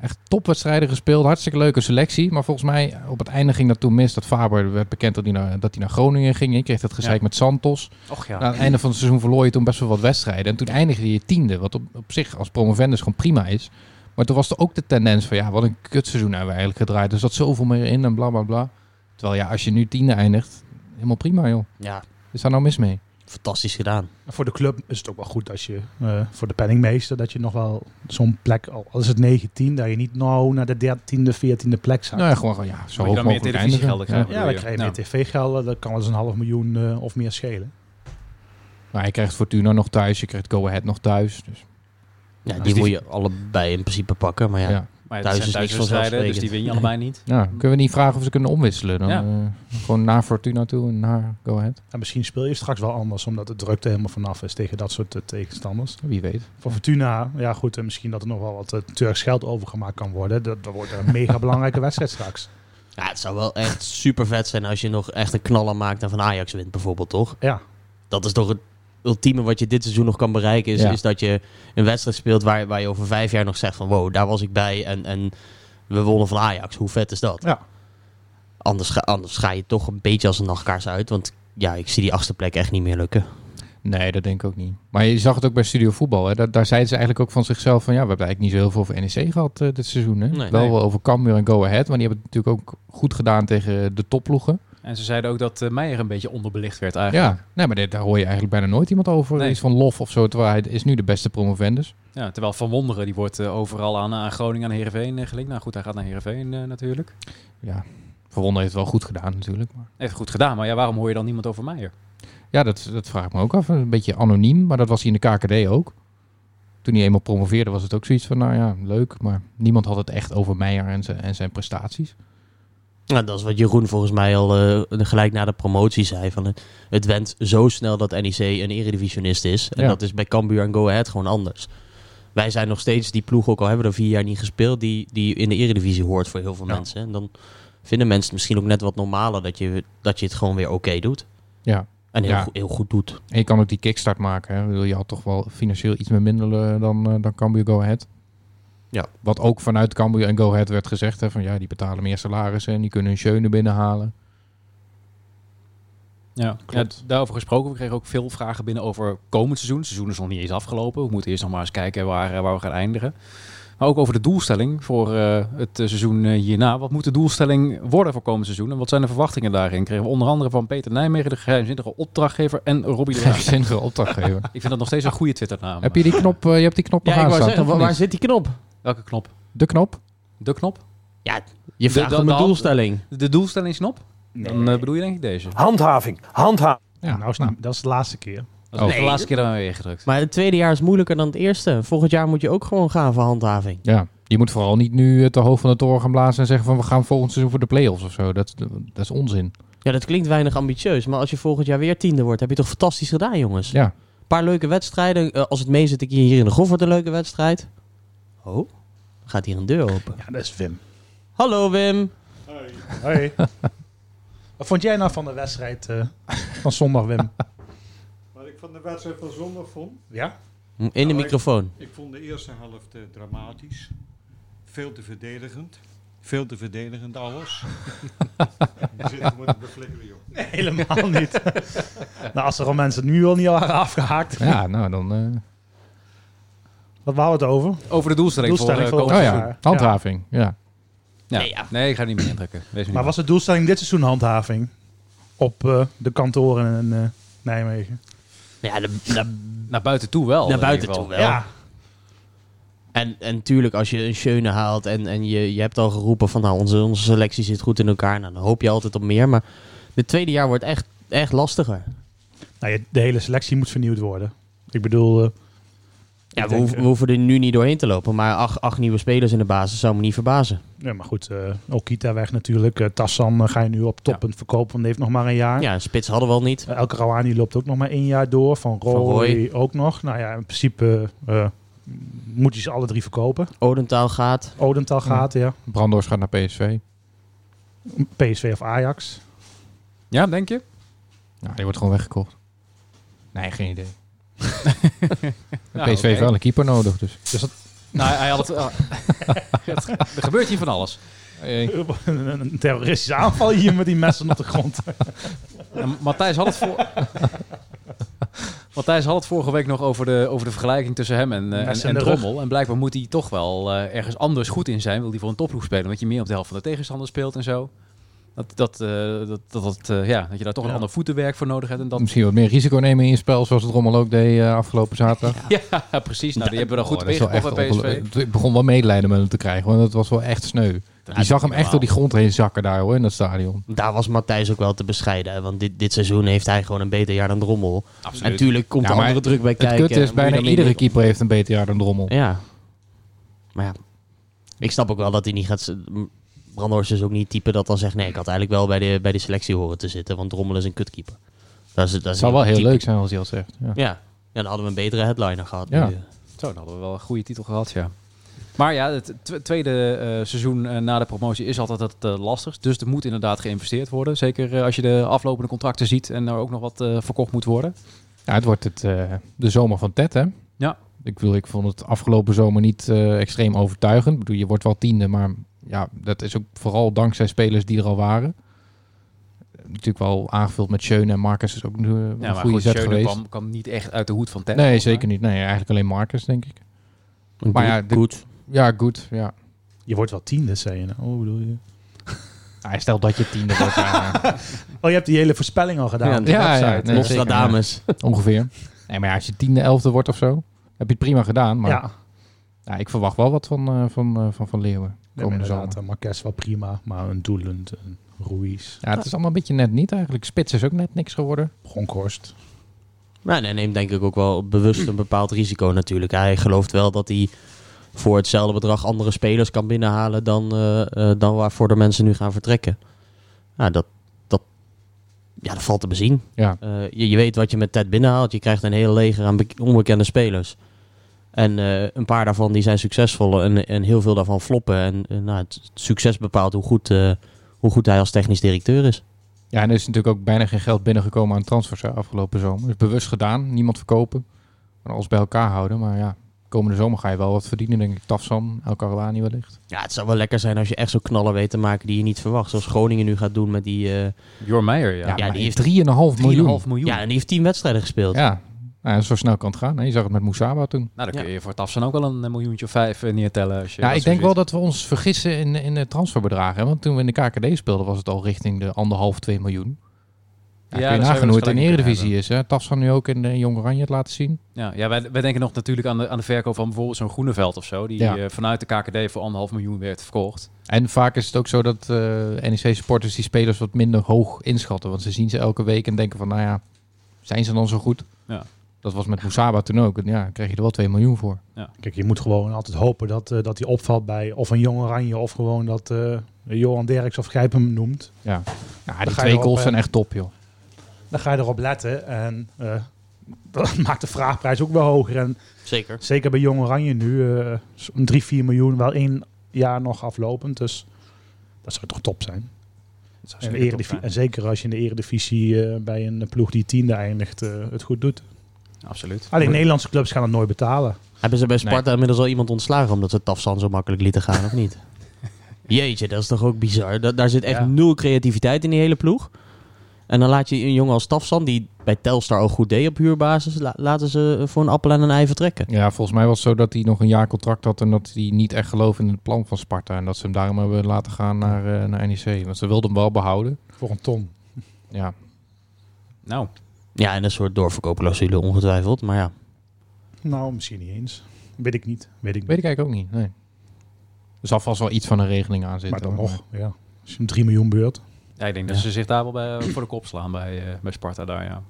Echt topwedstrijden gespeeld. Hartstikke leuke selectie. Maar volgens mij op het einde ging dat toen mis. Dat Faber werd bekend dat hij naar, dat hij naar Groningen ging. Je kreeg dat gezeik Ja. met Santos. Och ja. Aan het einde van het seizoen verloor je toen best wel wat wedstrijden. En toen eindigde je tiende. Wat op, op zich als promovendus gewoon prima is. Maar toen was er ook de tendens van ja, wat een kutseizoen hebben we eigenlijk gedraaid. Er zat zoveel meer in en bla bla bla. Terwijl ja, als je nu tiende eindigt, helemaal prima joh. Ja, Is daar nou mis mee? fantastisch gedaan. Voor de club is het ook wel goed als je, eh, voor de penningmeester, dat je nog wel zo'n plek, al al is het 19, dat je niet nou naar de 13e, 14e plek zakt. Nou ja, gewoon gewoon, ja, zo Moet je dan hoog meer mogelijk eindigen. televisiegelden krijgen? Ja. ja, dan krijg je Nou. meer tv-gelden, dat kan wel eens een half miljoen eh, of meer schelen. Maar Nou, je krijgt Fortuna nog thuis, je krijgt Go Ahead nog thuis. Dus Ja, die, Dus die- moet je allebei in principe pakken. Maar ja, Ja. Maar Thuis het is zijn niks thuiswedstrijden, dus die vanzelfsprekend. win je allebei niet. ja, kunnen we niet vragen of ze kunnen omwisselen. Dan, Ja. eh, gewoon naar Fortuna toe en naar Go Ahead. En misschien speel je straks wel anders, omdat de drukte helemaal vanaf is tegen dat soort eh, tegenstanders. Wie weet. Voor Fortuna, ja goed, en misschien dat er nog wel wat eh, Turks geld overgemaakt kan worden. Dat, dat wordt een mega belangrijke wedstrijd straks. Ja, het zou wel echt super vet zijn als je nog echt een knaller maakt en van Ajax wint bijvoorbeeld, toch? Ja. Dat is toch het ultieme wat je dit seizoen nog kan bereiken. Is, Ja. is dat je een wedstrijd speelt waar, waar je over vijf jaar nog zegt van wow, daar was ik bij en, en we wonnen van Ajax. Hoe vet is dat? Ja. Anders, ga, anders ga je toch een beetje als een nachtkaars uit. Want ja, ik zie die achtste plek echt niet meer lukken. Nee, dat denk ik ook niet. Maar je zag het ook bij Studio Voetbal. Hè? Daar, daar zeiden ze eigenlijk ook van zichzelf van... ja, we hebben eigenlijk niet zo heel veel over NEC gehad eh, dit seizoen. Hè? Nee. wel Nee. wel over Cambuur en Go Ahead. Maar die hebben het natuurlijk ook goed gedaan tegen de topploegen. En ze zeiden ook dat eh, Meijer een beetje onderbelicht werd eigenlijk. Ja, nee, maar dit- daar hoor je eigenlijk bijna nooit iemand over. Nee. Iets van lof of zo. Terwijl hij is nu de beste promovendus. Ja, terwijl Van Wonderen, die wordt eh, overal aan, aan Groningen, aan Heerenveen eh, gelinkt. Nou goed, hij gaat naar Heerenveen eh, natuurlijk. Ja, Verwonder heeft het wel goed gedaan natuurlijk. Maar... Heeft goed gedaan, maar ja, waarom hoor je dan niemand over Meijer? Ja, dat, dat vraag ik me ook af. Een beetje anoniem, maar dat was hij in de KKD ook. Toen hij eenmaal promoveerde was het ook zoiets van, nou ja, leuk. Maar niemand had het echt over Meijer en zijn, en zijn prestaties. Nou, dat is wat Jeroen volgens mij al eh, gelijk na de promotie zei. Van, eh, het went zo snel dat NEC een eredivisionist is. En Ja. dat is bij Cambuur en Go Ahead gewoon anders. Wij zijn nog steeds die ploeg, ook al hebben we er vier jaar niet gespeeld, die, die in de eredivisie hoort voor heel veel Ja. mensen. En dan vinden mensen het misschien ook net wat normaler dat je, dat je het gewoon weer oké doet. Ja. En heel, Ja. goed- heel goed doet. En je kan ook die kickstart maken. Hè. Ik bedoel, je had toch wel financieel iets meer minder eh, dan, eh, dan Cambuur Go Ahead. Ja. Wat ook vanuit Cambuur en Go Ahead werd gezegd. Hè, van ja, die betalen meer salarissen en die kunnen hun scheunen binnenhalen. Ja, Klopt. ja, daarover gesproken. We kregen ook veel vragen binnen over komend seizoen. Het seizoen is nog niet eens afgelopen. We moeten eerst nog maar eens kijken waar, eh, waar we gaan eindigen. Maar ook over de doelstelling voor eh, het eh, seizoen eh, hierna. Wat moet de doelstelling worden voor komend seizoen? En wat zijn de verwachtingen daarin? Kregen we onder andere van Peter Nijmegen, de geheimzinnige opdrachtgever, en Robbie de Graaf. Geheimzinnige opdrachtgever. Ik vind dat nog steeds een goede Twitternaam. Heb je die knop, eh, je hebt die knop nog Ja, ik wou aanstaan, zeggen, toch, waar, of niet? zit die knop? Welke knop? De knop? De knop? Ja, je vraagt de- om een de- doelstelling. De doelstellingsknop? Dan eh, bedoel je denk ik deze. Handhaving, handhaving. Ja, nou, is- nou. dat is de laatste keer. Dat is Nee. de laatste keer dat we weer gedrukt. Maar het tweede jaar is moeilijker dan het eerste. Volgend jaar moet je ook gewoon gaan voor handhaving. Ja, je moet vooral niet nu eh, te hoog van de toren gaan blazen en zeggen van we gaan volgend seizoen voor de play-offs of zo. Dat, dat is onzin. Ja, dat klinkt weinig ambitieus. Maar als je volgend jaar weer tiende wordt, heb je toch fantastisch gedaan, jongens. Ja, Een paar leuke wedstrijden. Eh, als het mee zit, ik hier in de Goffert een leuke wedstrijd. Oh, dan gaat hier een deur open. Ja, dat is Wim. Hallo Wim. Hoi. Wat vond jij nou van de wedstrijd eh, van zondag, Wim? Wat ik van de wedstrijd van zondag vond, Ja? In de Nou, ik- microfoon. ik vond de eerste helft eh, dramatisch. Veel te verdedigend. Veel te verdedigend alles. Je zit gewoon te beflikkeren, joh. Nee, helemaal niet. nou, als er al mensen nu al niet al waren afgehaakt, ja nou dan... eh, wat waren we het over? Over de doelstelling, Doelstelling voor, eh, voor- komend oh seizoen. ja, handhaving. Ja. Ja. Nee, ja. Nee, ik ga er niet meer indrukken. Wees Maar maar was de doelstelling dit seizoen handhaving? Op eh, de kantoren in eh, Nijmegen. Ja, de- naar- Naar buiten toe wel. naar in ieder buiten geval. toe wel. En, en tuurlijk, als je een Schöne haalt en, en je, je hebt al geroepen van nou, onze, onze selectie zit goed in elkaar. Nou, dan hoop je altijd op meer. Maar het tweede jaar wordt echt, echt lastiger. Nou, je- de hele selectie moet vernieuwd worden. Ik bedoel, eh, Ik Ja, we, denk, hoeven, eh, we hoeven er nu niet doorheen te lopen. Maar acht, acht nieuwe spelers in de basis zou me niet verbazen. nee, maar goed, eh, Okita weg natuurlijk. eh, Tassan eh, ga je nu op toppunt verkopen, want die heeft nog maar een jaar. Ja, een spits hadden we al niet. Eh, Elke Rawani loopt ook nog maar één jaar door. Van Roy, Van Roy. ook nog. Nou ja, in principe eh, eh, moet je ze alle drie verkopen. Odentaal gaat. Odental gaat, ja. Brandoors gaat naar PSV. PSV of Ajax. Ja, denk je? Nou, die wordt gewoon weggekocht. Nee, geen idee. Ja, PSV heeft oké. wel een keeper nodig, dus. Dus dat, Nou, hij had het, ah, het- er gebeurt hier van alles. Hey. Een, een terroristische aanval hier met die messen op de grond. En Matthijs had het voor. Matthijs had het vorige week nog over de, over de vergelijking tussen hem en, eh, en, Messen en in de rug. Drommel. En blijkbaar moet hij toch wel eh, ergens anders goed in zijn. Wil hij voor een topploeg spelen, omdat je meer op de helft van de tegenstander speelt en zo. Dat, dat, eh, dat, dat, dat, eh, ja, dat je daar toch Ja. een ander voetenwerk voor nodig hebt. En dat, Misschien wat meer risico nemen in je spel, zoals het Rommel ook deed eh, afgelopen zaterdag. ja, precies. Nou, die hebben we dan goed Oh, dat is wel meegekocht bij echt PSV. ongeluk- Ik begon wel medelijden met hem te krijgen, want het was wel echt sneu. Die zag hem echt door die grond heen zakken daar hoor, in dat stadion. Daar was Matthijs ook wel te bescheiden. hè, Want dit, dit seizoen heeft hij gewoon een beter jaar dan Drommel. En Absoluut. natuurlijk komt Ja, er maar andere druk bij kijken. het kut Moet eh, is, je bijna dan meer iedere niet- keeper heeft een beter jaar dan Drommel. Ja. Maar ja, ik snap ook wel dat hij niet gaat... Brandhorst is ook niet het type dat dan zegt... Nee, ik had eigenlijk wel bij de, bij de selectie horen te zitten. Want Drommel is een kutkeeper. Dat is, dat Het is zou niet wel heel type. leuk zijn als hij dat zegt. Ja. Ja. ja, dan hadden we een betere headliner gehad. Ja. nu. Zo, dan hadden we wel een goede titel gehad, ja. Maar ja, het tw- tweede eh, seizoen eh, na de promotie is altijd het eh, lastigst. Dus er moet inderdaad geïnvesteerd worden. Zeker eh, als je de aflopende contracten ziet en er ook nog wat eh, verkocht moet worden. Ja, het wordt het, eh, de zomer van Ted, hè? Ja. Ik, bedoel, ik vond het afgelopen zomer niet eh, extreem overtuigend. Ik bedoel, je wordt wel tiende, maar ja, dat is ook vooral dankzij spelers die er al waren. Natuurlijk wel aangevuld met Schöne en Marcus is ook eh, een Ja, maar goede goed, zet Schöne geweest. kwam, kwam niet echt uit de hoed van Ted. Nee, volgens mij. zeker niet. Nee, eigenlijk alleen Marcus, denk ik. Maar Maar ja, ja, dit- goed. Ja, goed. Ja. Je wordt wel tiende, zei je nou. Oh, bedoel je? Hij stelt dat je tiende wordt. ja, Oh, je hebt die hele voorspelling al gedaan. Ja, op de ja, website. ja, nee, zeker, Nostradamus. ongeveer. Nee, maar ja, als je tiende, elfde wordt of zo, heb je het prima gedaan. Maar ja. ja. ik verwacht wel wat van, eh, van, eh, van Van Leeuwen Nee, maar komende zomer. inderdaad, eh, Marquez wel prima, maar een Doelend, een Ruiz, Ja, het is allemaal een beetje net niet eigenlijk. Spits is ook net niks geworden. Bronkhorst. Nou, en hij neemt denk ik ook wel bewust een bepaald risico natuurlijk. Hij gelooft wel dat hij voor hetzelfde bedrag andere spelers kan binnenhalen dan, eh, eh, dan waarvoor de mensen nu gaan vertrekken. Nou, dat, dat, ja, dat valt te bezien. Ja. Eh, je, je weet wat je met Ted binnenhaalt. Je krijgt een hele leger aan bek- onbekende spelers. En eh, een paar daarvan die zijn succesvol en, en heel veel daarvan floppen. En eh, nou, het, het succes bepaalt hoe goed, eh, hoe goed hij als technisch directeur is. Ja, en er is natuurlijk ook bijna geen geld binnengekomen aan transfers hè, afgelopen zomer. Dus bewust gedaan, niemand verkopen. Maar alles bij elkaar houden. Maar ja, komende zomer ga je wel wat verdienen, denk ik. Tafsan, El Karawani wellicht. Ja, het zou wel lekker zijn als je echt zo'n knallen weet te maken die je niet verwacht. Zoals Groningen nu gaat doen met die... eh, Jor Meijer, ja. Ja, maar die heeft 3,5 miljoen. 3,5 miljoen. Nou, ja, en die heeft tien wedstrijden gespeeld. Ja, nou, ja, zo snel kan het gaan. hè. Je zag het met Moussaba toen. Nou, dan kun Ja. je voor Tafsan ook wel een eh, miljoentje of vijf eh, neertellen. Als je Ja, dat ik zo denk ziet. wel dat we ons vergissen in, in de transferbedragen. hè. Want toen we in de KKD speelden was het al richting de anderhalf, 2 miljoen. Ja, Ja, kun daar je dus zou je nagaan hoe het in de waarschijnlijk kunnen Eredivisie is. hè. Tafsan nu ook in eh, Jong Oranje het laten zien. Ja, ja wij, wij denken nog natuurlijk aan de, aan de verkoop van bijvoorbeeld zo'n Groeneveld of zo. Die Ja. eh, vanuit de KKD voor anderhalf miljoen werd verkocht. En vaak is het ook zo dat eh NEC-supporters die spelers wat minder hoog inschatten. Want ze zien ze elke week en denken van, nou ja, zijn ze dan zo goed? Ja. Dat was met Moussaba toen ook. En Ja, dan kreeg je er wel 2 miljoen voor. Kijk, je moet gewoon altijd hopen dat, eh, dat hij opvalt bij of een Jong Oranje of gewoon dat eh, Johan Derks of Grijp hem noemt. Ja, ja die je twee erop, goals hè? zijn echt top, joh. Dan ga je erop letten en eh, dat maakt de vraagprijs ook wel hoger. En Zeker. zeker bij Jong Oranje nu, eh zo'n 3, 4 miljoen, wel één jaar nog aflopend. Dus dat zou toch top zijn. Dat zou En, zeker top eredivi- zijn. en zeker als je in de eredivisie eh, bij een ploeg die tiende eindigt eh, het goed doet. Absoluut. Alleen Nederlandse clubs gaan het nooit betalen. Hebben ze bij Sparta inmiddels al iemand ontslagen omdat ze Tafsan zo makkelijk lieten gaan, of niet? Jeetje, dat is toch ook bizar. Da- daar zit echt Ja. nul creativiteit in die hele ploeg. En dan laat je een jongen als Tafsan, die bij Telstar al goed deed op huurbasis, la- laten ze voor een appel en een ei vertrekken. Ja, volgens mij was het zo dat hij nog een jaar contract had en dat hij niet echt geloofde in het plan van Sparta. En dat ze hem daarom hebben laten gaan naar, eh, naar NEC. Want ze wilden hem wel behouden. Voor een ton. Ja, Nou, Ja, en een soort doorverkoopclausule ongetwijfeld, maar ja. Nou, misschien niet eens. Weet ik niet. Weet ik niet. weet ik eigenlijk ook niet. Nee. Er zal vast wel iets van een regeling aan zitten. maar dan hoor. nog, ja. Als je een 3 miljoen beurt. ja, ik denk dat Ja. ze zich daar wel bij, eh, voor de kop slaan bij, eh, bij Sparta daar, ja.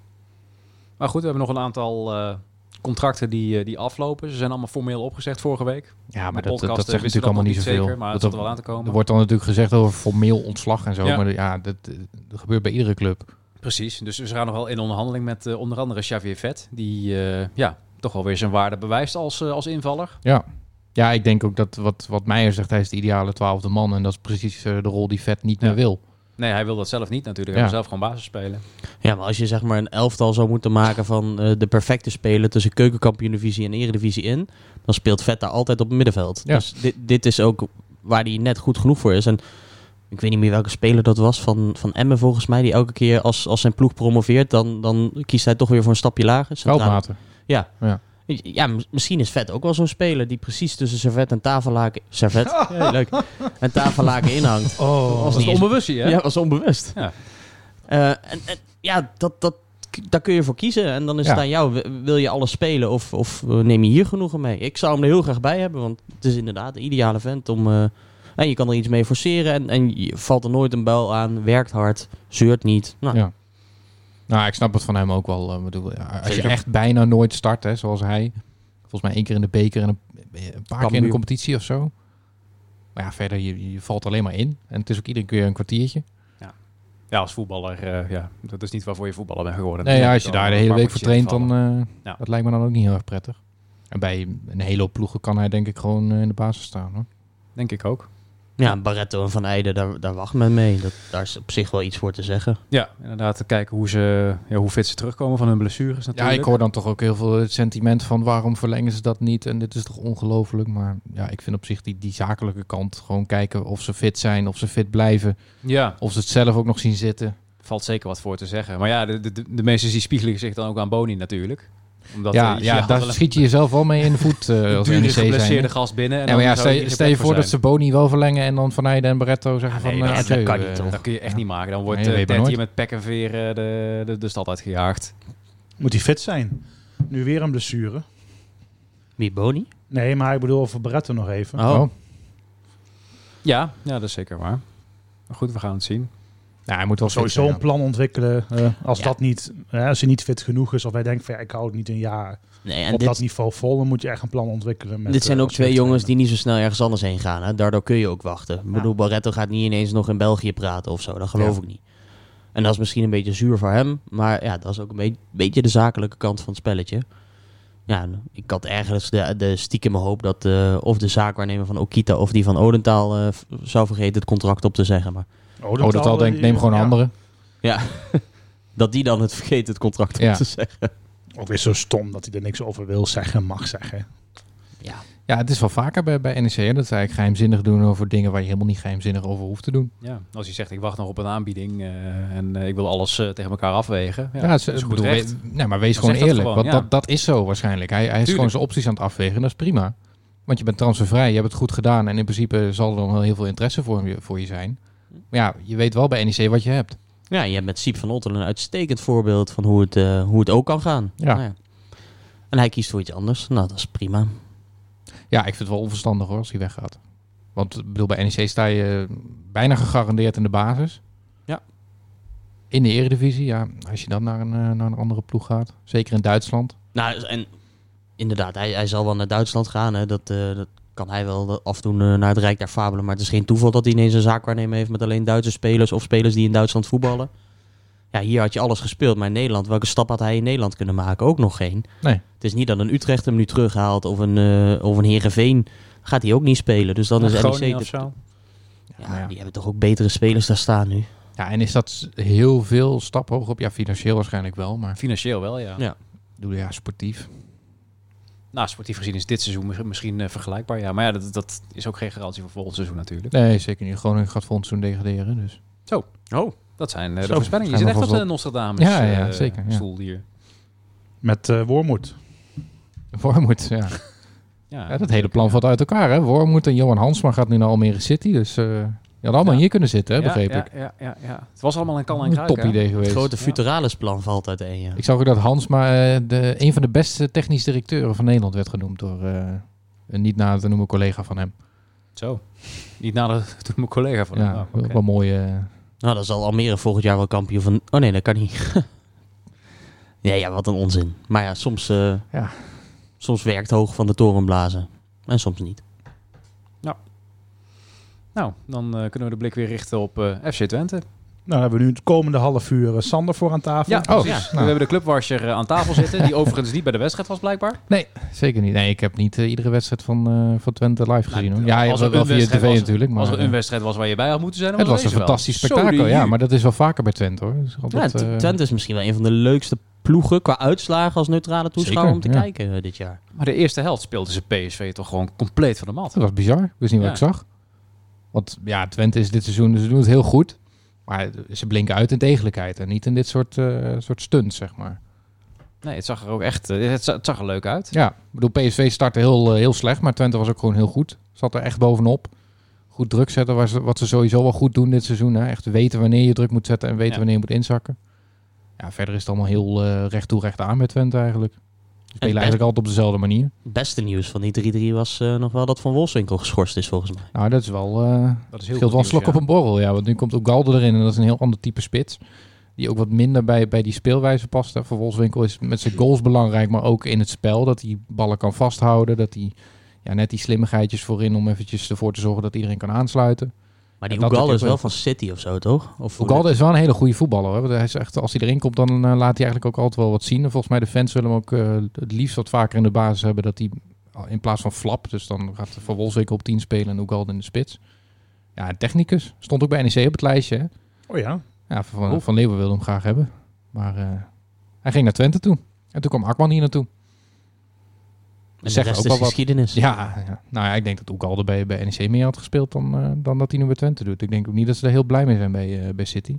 Maar goed, we hebben nog een aantal eh, contracten die, eh, die aflopen. Ze zijn allemaal formeel opgezegd vorige week. Ja, De maar dat, dat, podcast, dat eh, zegt wisten natuurlijk allemaal dat nog niet niet zoveel. zeker, maar het Dat- zat wel aan te komen. Er wordt dan natuurlijk gezegd over formeel ontslag en zo. Ja. Maar ja, dat, eh, dat gebeurt bij iedere club. Precies, dus we gaan nog wel in onderhandeling met eh, onder andere Xavier Vet. Die eh, ja, toch wel weer zijn waarde bewijst als, eh, als invaller. Ja. Ja, ik denk ook dat wat, wat Meijer zegt, hij is de ideale twaalfde man. En dat is precies eh, de rol die Vet niet Ja. meer wil. Nee, hij wil dat zelf niet natuurlijk. Hij Ja. wil zelf gewoon basis spelen. Ja, maar als je zeg maar een elftal zou moeten maken van eh, de perfecte speler tussen keukenkampioen-divisie en eredivisie in, dan speelt Vet daar altijd op het middenveld. Ja. Dus dit, dit is ook waar hij net goed genoeg voor is. En ik weet niet meer welke speler dat was van, van Emmen volgens mij, die elke keer als, als zijn ploeg promoveert, dan, dan kiest hij toch weer voor een stapje lager. Centraal. Veldmaten. Ja, m- misschien is Vet ook wel zo'n speler die precies tussen servet en tafellaken... Servet? Ja, leuk. En tafellaken inhangt. Oh, Dat is niet het onbewustje, hè? Ja, was onbewust. Ja. Eh, en, en ja, dat, dat, daar kun je voor kiezen. En dan is het Ja. aan jou. W- Wil je alles spelen of, of eh, neem je hier genoegen mee? Ik zou hem er heel graag bij hebben, want het is inderdaad de ideale vent om... eh, en je kan er iets mee forceren en, en je valt er nooit een buil aan. Werkt hard, zeurt niet. Nou, Ja. Nou, ik snap het van hem ook wel. eh, bedoel, ja, als je Zeker. echt bijna nooit start, hè, zoals hij. Volgens mij één keer in de beker en een, een paar keer in de Cambuur. competitie of zo. Maar ja, verder, je, je valt alleen maar in. En het is ook iedere keer een kwartiertje. Ja, als voetballer, eh, ja, dat is niet waarvoor je voetballer bent geworden. Nee, ja, Dan als je moet daar de dan hele een week paar voor potjes traint, dan... invallen. eh, Ja. Dat lijkt me dan ook niet heel erg prettig. En bij een hele hoop ploegen kan hij denk ik gewoon eh, in de basis staan. Hoor. Denk ik ook. ja, Barretto en Van Eijden, daar, daar wacht men mee. Dat, daar is op zich wel iets voor te zeggen. Ja, inderdaad. Te kijken hoe, ze, ja, hoe fit ze terugkomen van hun blessures Ja, natuurlijk. ik hoor dan toch ook heel veel het sentiment van waarom verlengen ze dat niet? En dit is toch ongelooflijk? Maar ja, ik vind op zich die, die zakelijke kant gewoon kijken of ze fit zijn, of ze fit blijven, Ja, of ze het zelf ook nog zien zitten. valt zeker wat voor te zeggen. Maar ja, de, de, de meesten die spiegelen zich dan ook aan Boni natuurlijk. Omdat ja, eh, ja, had daar wel een schiet je jezelf wel mee in de voet eh, als dure NEC zijn. geblesseerde gast binnen. En Ja, dan maar ja, zou stel, je je- geen stel je plek voor dat zijn. ze Boni wel verlengen en dan Van Eijden en Barretto zeggen nee, van... maar eh, dat adieu, kan niet, eh. toch? Dat kun je echt Ja. niet maken. Dan wordt Nee, eh, weet Ted maar nooit. hier met pek en veer eh, de, de, de stad uitgejaagd. Moet hij fit zijn? Nu weer een blessure. Wie, Boni? Nee, maar ik bedoel over Barretto nog even. Oh. Oh. Ja, ja, dat is zeker waar. Maar goed, we gaan het zien. Ja, Nou, hij moet wel fit Sowieso zijn, een plan ontwikkelen. eh, als Ja. dat niet, hè, als hij niet fit genoeg is, of wij denken van ja, ik hou het niet een jaar Nee, en op dit, dat niveau vol, dan moet je echt een plan ontwikkelen. Met, Dit zijn eh, ook als twee jongens jeugdtrainer. die niet zo snel ergens anders heen gaan. Hè? Daardoor kun je ook wachten. Ik bedoel, Barretto gaat niet ineens nog in België praten of zo. Dat geloof Ja. ik niet. En dat is misschien een beetje zuur voor hem. Maar ja, dat is ook een be- beetje de zakelijke kant van het spelletje. Ja, en ik had ergens de, de stiekeme hoop dat eh, of de zaakwaarnemer van Okita of die van Odentaal eh, v- zou vergeten het contract op te zeggen. Maar ja. Oh, dat al denkt, eh, neem gewoon een ja. andere. ja, dat die dan het vergeet het contract op Ja. te zeggen. Ook weer zo stom dat hij er niks over wil zeggen, mag zeggen. Ja, Ja, het is wel vaker bij, bij NEC hè, dat ze eigenlijk geheimzinnig doen over dingen waar je helemaal niet geheimzinnig over hoeft te doen. Ja, als hij zegt, ik wacht nog op een aanbieding eh, en eh, ik wil alles eh, tegen elkaar afwegen. Ja, Ja, het is- dat is ik goed bedoel, recht. we- nee, maar wees Dan gewoon zegt dat eerlijk. gewoon, want ja. dat, dat is zo waarschijnlijk. Hij, hij is gewoon Tuurlijk. zijn opties aan het afwegen. en Dat is prima. Want je bent transfervrij. Je hebt het goed gedaan. En in principe zal er dan wel heel veel interesse voor je, voor je zijn. Maar ja, je weet wel bij NEC wat je hebt. Ja, je hebt met Siep van Ottelen een uitstekend voorbeeld van hoe het, eh, hoe het ook kan gaan. Ja. Nou En hij kiest voor iets anders. Nou, dat is prima. Ja, ik vind het wel onverstandig hoor als hij weggaat. Want ik bedoel, bij NEC sta je bijna gegarandeerd in de basis. Ja. In de eredivisie, ja. Als je dan naar een, eh, naar een andere ploeg gaat. Zeker in Duitsland. Nou, en inderdaad, hij, hij zal wel naar Duitsland gaan. Hè. Dat, eh, dat kan hij wel afdoen eh, naar het Rijk daar fabelen. Maar het is geen toeval dat hij ineens een zaakwaarnemer heeft met alleen Duitse spelers of spelers die in Duitsland voetballen. Ja, hier had je alles gespeeld, maar in Nederland, welke stap had hij in Nederland kunnen maken? Ook nog geen. Nee. Het is niet dat een Utrecht hem nu terughaalt of een, eh of een Heerenveen. Gaat hij ook niet spelen. Dus dan is E NEC... Groningen de- of zo. Ja, Maar ja. die hebben toch ook betere spelers daar staan nu. Ja, en is dat heel veel stap hoog op? Ja, financieel waarschijnlijk wel. Maar Financieel wel, ja. Ja. ik bedoel, ja, sportief. Nou, sportief gezien is dit seizoen mis- misschien eh, vergelijkbaar, ja. Maar ja, dat, dat is ook geen garantie voor volgend seizoen natuurlijk. Nee, zeker niet. Groningen gaat volgens toen degraderen. Dus. Oh. Dat zijn eh, Zo, de voorspellingen. Je schijnbaar zit echt op vast de op. Nostradamus Ja, ja, eh, zeker, ja. stoel hier. Met eh Wormoed. Wormoed, ja. Ja, ja. Dat hele plan valt uit elkaar, hè. Wormoed en Johan Hansma gaat nu naar Almere City. Dus eh je had allemaal Ja. hier kunnen zitten, hè, Ja, begreep ja, ik. Ja, ja, ja. Het was allemaal een kan en Een kruiken. top hè? idee geweest. Het grote Futuralis-plan valt uiteen, ja. Ik zag ook dat Hansma eh, de, een van de beste technisch directeuren van Nederland werd genoemd door eh, een niet na te noemen collega van hem. Zo. Niet nader toen mijn collega van hem. ja, Oh, oké. wel mooi. eh, Nou, dan zal Almere volgend jaar wel kampioen van... Oh nee, dat kan niet. ja, ja, wat een onzin. Maar ja, soms, eh, Ja. soms werkt hoog van de toren blazen. En soms niet. Nou, dan eh, kunnen we de blik weer richten op eh, FC Twente. Nou, dan hebben we nu het komende half uur eh, Sander voor aan tafel. Ja, Oh, precies. ja. We hebben de clubwasher eh, aan tafel zitten, die overigens niet bij de wedstrijd was blijkbaar. Zeker niet. Nee, ik heb niet eh, iedere wedstrijd van, eh, van Twente live gezien. hoor. Ja, Nou, als ja er wel een via wedstrijd tv was- natuurlijk. Maar, Als er een eh, wedstrijd was waar je bij had moeten zijn, dan het was een deze wel. fantastisch Zo, spektakel, die- ja. Maar dat is wel vaker bij Twente hoor. Dus altijd, Ja, Tw- eh, Twente is misschien wel een van de leukste ploegen qua uitslagen als neutrale toeschouwer Zeker, om te ja. kijken eh, dit jaar. Maar de eerste helft speelde ze PSV toch gewoon compleet van de mat. Oh, Dat was bizar. Ik wist niet wat Ja. ik zag. Want ja, Twente is dit seizoen, ze doen het heel goed. Maar ze blinken uit in degelijkheid en niet in dit soort, eh soort stunts, zeg maar. Nee, het zag er ook echt eh, het za- het zag er leuk uit. Ja, ik bedoel, PSV startte heel, eh, heel slecht, maar Twente was ook gewoon heel goed. Zat er echt bovenop. Goed druk zetten, was wat ze sowieso wel goed doen dit seizoen. Hè? Echt weten wanneer je druk moet zetten en weten Ja. wanneer je moet inzakken. Ja, verder is het allemaal heel eh recht toe, recht aan met Twente eigenlijk. Ze spelen best- eigenlijk altijd op dezelfde manier. Het beste nieuws van die 3-3 was eh, nog wel dat Van Wolfswinkel geschorst is volgens mij. Nou, dat is wel... eh, Dat is heel Scheelt goed wel een nieuws, slok ja. op een borrel, ja. Want nu komt ook Galde erin en dat is een heel ander type spits. Die ook wat minder bij, bij die speelwijze past. hè. Voor Wolfswinkel is met zijn goals belangrijk, maar ook in het spel. Dat hij ballen kan vasthouden. Dat hij ja, net die slimmigheidjes voorin om eventjes ervoor te zorgen dat iedereen kan aansluiten. Maar die Ja, dat Ugalde ik is heb wel wel- van City of zo, toch? Of hoe- Galde is wel een hele goede voetballer. Hoor. Want hij is echt, als hij erin komt, dan eh, laat hij eigenlijk ook altijd wel wat zien. En volgens mij de fans willen hem ook eh, het liefst wat vaker in de basis hebben. Dat hij eh, in plaats van flap, dus dan gaat Van Wolfswinkel op 10 spelen en Ugalde in de spits. Ja, en technicus. Stond ook bij NEC op het lijstje, hè. Oh ja. Ja, van, Oh. van Leeuwen wilde hem graag hebben. Maar eh, hij ging naar Twente toe. En toen kwam Akman hier naartoe. En de zegt rest ook is wel wat. geschiedenis. Ja, ja. nou ja, ik denk dat Oekalde bij, bij NEC meer had gespeeld dan, eh, dan dat hij nu bij Twente doet. Ik denk ook niet dat ze daar heel blij mee zijn bij, eh, bij City.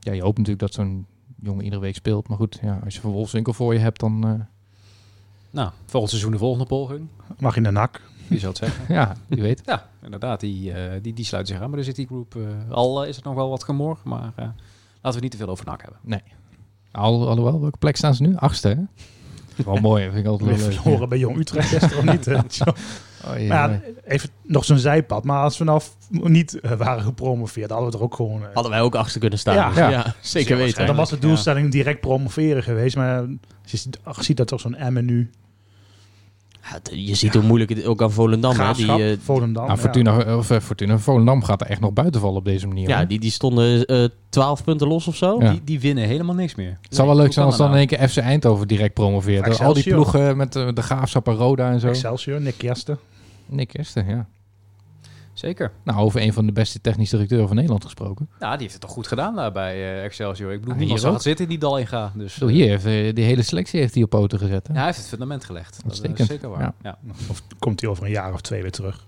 Ja, je hoopt natuurlijk dat zo'n jongen iedere week speelt. Maar goed, ja, als je Van Wolfswinkel voor je hebt, dan... eh, Nou, volgend seizoen de volgende poging. Mag in de nak. Wie zou het zeggen? ja, wie weet. Ja, inderdaad. Die, eh die, die sluit zich aan bij de City Group. eh, al eh, is het nog wel wat gemor, maar eh, laten we niet te veel over NAC hebben. Al, alhoewel, welke plek staan ze nu? Achtste, hè? Wel mooi, vind ik altijd Weer wel leuk. verloren bij Jong Utrecht gisteren of niet. hè? Tja. Oh, ja, Maar nee. ja, even nog zo'n zijpad. Maar als we nou f- niet eh, waren gepromoveerd, dan hadden we er ook gewoon... eh, Hadden wij ook achter kunnen staan. Ja. Dus Ja. zeker weten. en dan was de ja. doelstelling direct promoveren geweest. Maar als je ziet- ach, ziet dat toch zo'n Emmen nu. Ja, het- je ziet hoe moeilijk het ook aan Volendam. hè. Die, Graafschap, eh, Volendam. Nou, ja. Fortuna, of, eh, Fortuna Volendam gaat er echt nog buiten vallen op deze manier. ja, hoor. die, die stonden eh 12 punten los of zo. Ja. Die, die winnen helemaal niks meer. Het zou wel leuk hoe kan zijn als dan dat nou? in één keer FC Eindhoven direct promoveert. Dat Al die Excelsior. ploegen met eh, de Graafschap en Roda en zo. Excelsior, Nick Kersten. Nick Kirsten, ja. Zeker. Nou, over een van de beste technisch directeuren van Nederland gesproken. Ja, die heeft het toch goed gedaan daar bij eh, Excelsior. Ik bedoel, Ah, niemand hier zag ook? het zitten in die dal in gaan. Dus, Zo, hier heeft eh, die hele selectie heeft hij op poten gezet. Hè? Ja, hij heeft het fundament gelegd. Dat is Uitstekend. zeker waar. Ja. Ja. Of komt hij over een jaar of twee weer terug?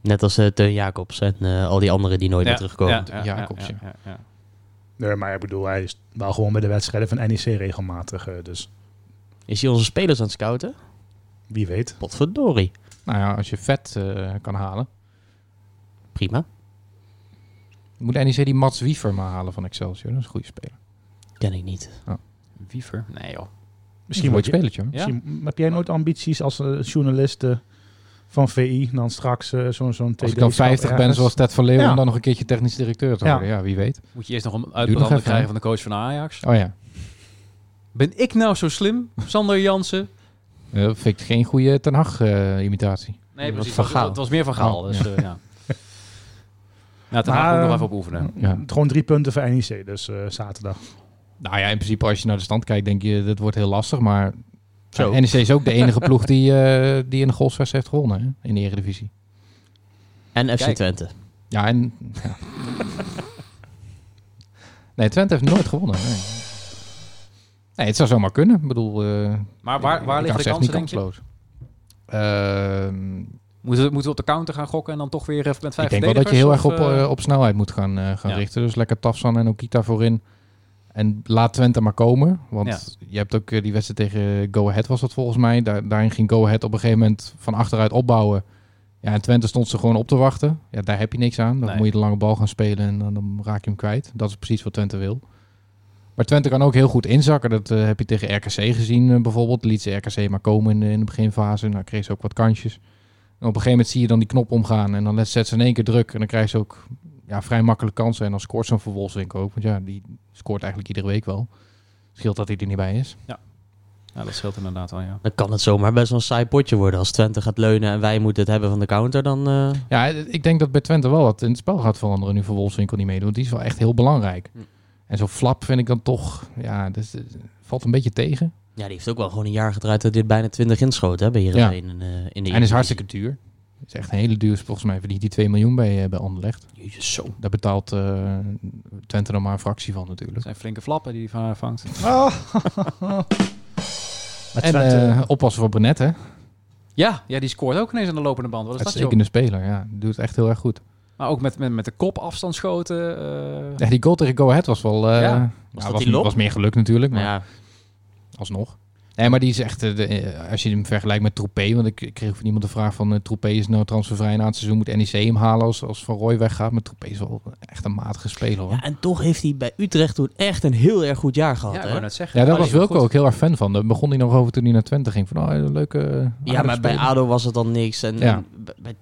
Net als eh Teun Jacobs en eh, al die anderen die nooit Ja, meer terugkomen. Jacobs, ja. ja, ja. Nee, maar ik bedoel, hij is wel gewoon bij de wedstrijden van NEC regelmatig. eh, dus Is hij onze spelers aan het scouten? wie weet. Potverdorie. Nou ja, als je vet eh, kan halen. Prima. Moet NEC die Mats Wiever maar halen van Excelsior. Dat is een goede speler. Ken ik niet. Wiever? Nee joh. Misschien Misschien mooi wordt je, spelertje. hoor. Ja? misschien- Heb jij nooit ambities als eh, journalist eh, van VI? Dan straks eh, zo'n zo'n Als ik dan 50 ben zoals Ted van Leeuwen, Ja. en dan nog een keertje technisch directeur te Ja. worden. Ja, wie weet. Moet je eerst nog een nog uitbrander even, krijgen hè? van de coach van de Ajax? Oh ja, Ben ik nou zo slim? Sander Jansen? Eh, vind ik geen goede Ten Hag eh, imitatie. Nee, Wat precies. Van Het was, Gaal. het was meer van Gaal. Oh, dus, ja. eh, ja. Nou, ten Maar, Hag moet nog eh, even op oefenen. Ja. Gewoon drie punten voor NEC, dus eh, zaterdag. Nou ja, in principe als je naar de stand kijkt, denk je dat wordt heel lastig. Maar nou, Zo. NEC is ook de enige ploeg die, eh, die in de goalsvest heeft gewonnen hè, in de Eredivisie. En FC Kijk. Twente. Ja, en... Ja. Nee, Twente heeft nooit gewonnen. Nee, nee het zou zomaar kunnen. Ik bedoel... eh, Maar waar, waar ik liggen hou de ze kansen, echt niet denk je? kansloos. Ehm, Moeten we, moeten we op de counter gaan gokken en dan toch weer even met vijf ik denk wel dat je heel verdedigers, erg op, of, eh, eh, op snelheid moet gaan, eh, gaan Ja. richten. Dus lekker Tafsan en Okita voorin. En laat Twente maar komen. Want je hebt ook eh, die wedstrijd tegen Go Ahead was dat volgens mij. Daar, daarin ging Go Ahead op een gegeven moment van achteruit opbouwen. Ja, en Twente stond ze gewoon op te wachten. Ja, daar heb je niks aan. Dan Nee. moet je de lange bal gaan spelen en dan, dan raak je hem kwijt. Dat is precies wat Twente wil. Maar Twente kan ook heel goed inzakken. Dat eh, heb je tegen RKC gezien eh, bijvoorbeeld. Liet ze RKC maar komen in de, in de beginfase. Nou, kreeg ze ook wat kansjes. En op een gegeven moment zie je dan die knop omgaan. En dan let- zet ze in één keer druk. En dan krijg ze ook ja, vrij makkelijk kansen. En dan scoort zo'n Verwolfswinkel ook. Want ja, die scoort eigenlijk iedere week wel. Scheelt dat hij er niet bij is. Ja, dat scheelt inderdaad wel, ja. Dan kan het zomaar best wel een saai potje worden. Als Twente gaat leunen en wij moeten het hebben van de counter, dan... eh, Ja, ik denk dat bij Twente wel wat in het spel gaat veranderen nu voor Wolfswinkel niet meedoet. want Die is wel echt heel belangrijk. Hm. En zo flap vind ik dan toch, ja, dat is- valt een beetje tegen. ja, die heeft ook wel gewoon een jaar gedraaid dat dit bijna 20 inschoot hè, bij Heerenveen. in, eh, in de En is hartstikke duur. Is echt een hele duur, volgens mij verdient die 2 miljoen bij, eh bij Anderlecht. Jezus, zo. Daar betaalt eh, Twente dan maar een fractie van natuurlijk. Dat zijn flinke flappen die hij va- vangt. En eh, oppassen voor Brenet, hè? Ja, ja, die scoort ook ineens aan de lopende band. Wat is dat, joh? Uitstekende speler, ja. Doet het echt heel erg goed. Maar ook met, met, met de kop afstandsschoten. eh Ja, die goal tegen Go Ahead was wel... eh, Ja. nou, Was Was, dat die was, lob? meer geluk natuurlijk, maar Maar ja, alsnog. Nee, maar die is echt... eh, de- eh, als je hem vergelijkt met Troepé... Want ik ik kreeg van iemand de vraag van... eh, Troepé is nou transfervrij na het seizoen. Moet NEC hem halen als, als Van Roy weggaat? Maar Troepé is wel echt een matige speler, hoor. Ja, en toch heeft hij bij Utrecht toen echt een heel erg goed jaar gehad. ja, ik hè? wou net zeggen. Ja, daar Allee, was Wilco goed. ook heel erg fan van. Daar begon hij nog over toen hij naar Twente ging. Van, oh, een leuke... eh, ja aardige maar bij speler. ADO was het dan niks. En, Ja. en bij- bij,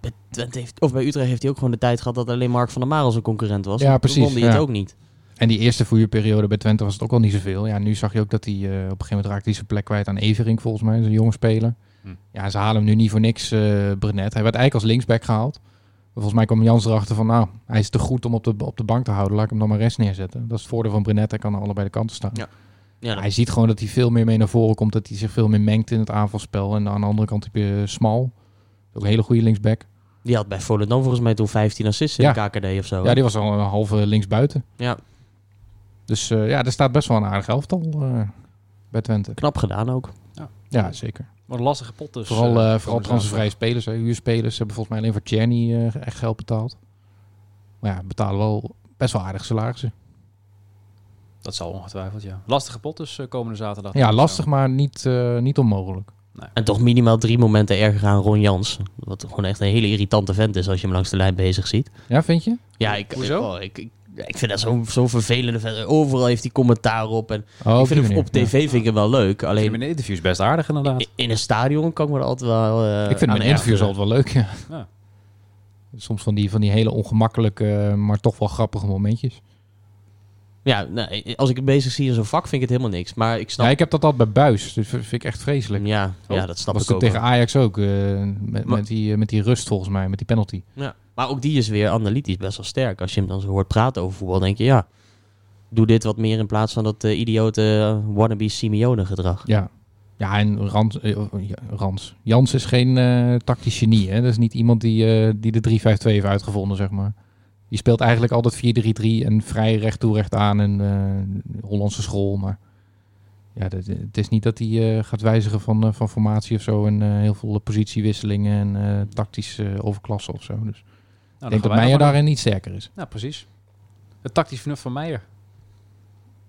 bij, Twente heeft, of bij Utrecht heeft hij ook gewoon de tijd gehad dat alleen Mark van der Marel zijn concurrent was. Ja, En precies, Toen won hij ja. het ook niet. En die eerste voorjaarperiode bij Twente was het ook al niet zoveel. Ja, nu zag je ook dat hij eh, op een gegeven moment raakte hij zijn plek kwijt aan Evering, volgens mij, een jonge speler. Hm. Ja, ze halen hem nu niet voor niks, eh Brenet. Hij werd eigenlijk als linksback gehaald. Maar Volgens mij kwam Jans erachter van, nou, hij is te goed om op de, op de bank te houden. Laat ik hem dan maar rest neerzetten. Dat is het voordeel van Brenet. Hij kan aan allebei de kanten staan. Ja. Ja, Hij ziet gewoon dat hij veel meer mee naar voren komt. Dat hij zich veel meer mengt in het aanvalspel. En aan de andere kant heb je Smal. Ook een hele goede linksback. die had bij Volendam volgens mij toen 15 assists in Ja. de KKD of zo. Ja, die was al een halve linksbuiten. Ja. Dus eh, ja, er staat best wel een aardig elftal eh, bij Twente. Knap gedaan ook. Ja, zeker. Wat een lastige pot dus. vooral eh, eh voor vooral de transfervrije spelers, hè, huurspelers. Ze hebben volgens mij alleen voor Tjerny eh, echt geld betaald. Maar ja, betalen wel best wel aardig salarissen. zaterdag. Dat zal ongetwijfeld, ja. Lastige pot dus eh, komende zaterdag. Ja, lastig, maar niet, eh, niet onmogelijk. En toch minimaal drie momenten erger aan Ron Jans. Wat gewoon echt een hele irritante vent is als je hem langs de lijn bezig ziet. Ja, vind je? Ja, ik, Hoezo? oh, ik, ik, ik vind dat zo'n zo vervelende vent. Overal heeft hij commentaar op. En Oh, ik vind hem op tv vind ik hem wel leuk. Alleen Alleen in de interviews best aardig inderdaad. I- In een stadion kan ik me er altijd wel. eh, ik vind aan mijn interviews ergeren. altijd wel leuk, ja. Ja. Soms van die, van die hele ongemakkelijke, eh, maar toch wel grappige momentjes. Ja, nou, als ik het bezig zie in zo'n vak, vind ik het helemaal niks. Maar ik snap. Ja, ik heb dat altijd bij Buis. Dus vind ik echt Ja, vreselijk. ja, Oh, dat snap was ik ook. toen tegen wel. Ajax ook. eh, met, Maar- met, die, eh, met die rust volgens mij, met die penalty. Ja. Maar ook die is weer analytisch best wel sterk. Als je hem dan zo hoort praten over voetbal, denk je ja. Doe dit wat meer in plaats van dat eh, idiote eh, wannabe Simeone gedrag. Ja, ja en Rans, eh, oh, ja, Rans. Jans is geen eh, tactisch genie. Hè? Dat is niet iemand die, eh, die de 3-5-2 heeft uitgevonden, zeg maar. Die speelt eigenlijk altijd 4-3-3 en vrij recht toe recht aan en eh, Hollandse school. Maar ja, dat- het is niet dat hij eh, gaat wijzigen van, eh, van formatie of zo. En eh, heel veel positiewisselingen en eh tactische overklassen of zo. Dus Nou, dan gaan ik denk dat wij Meijer nog maar- daarin niet sterker is. Nou, precies. Het tactisch vernuft van Meijer.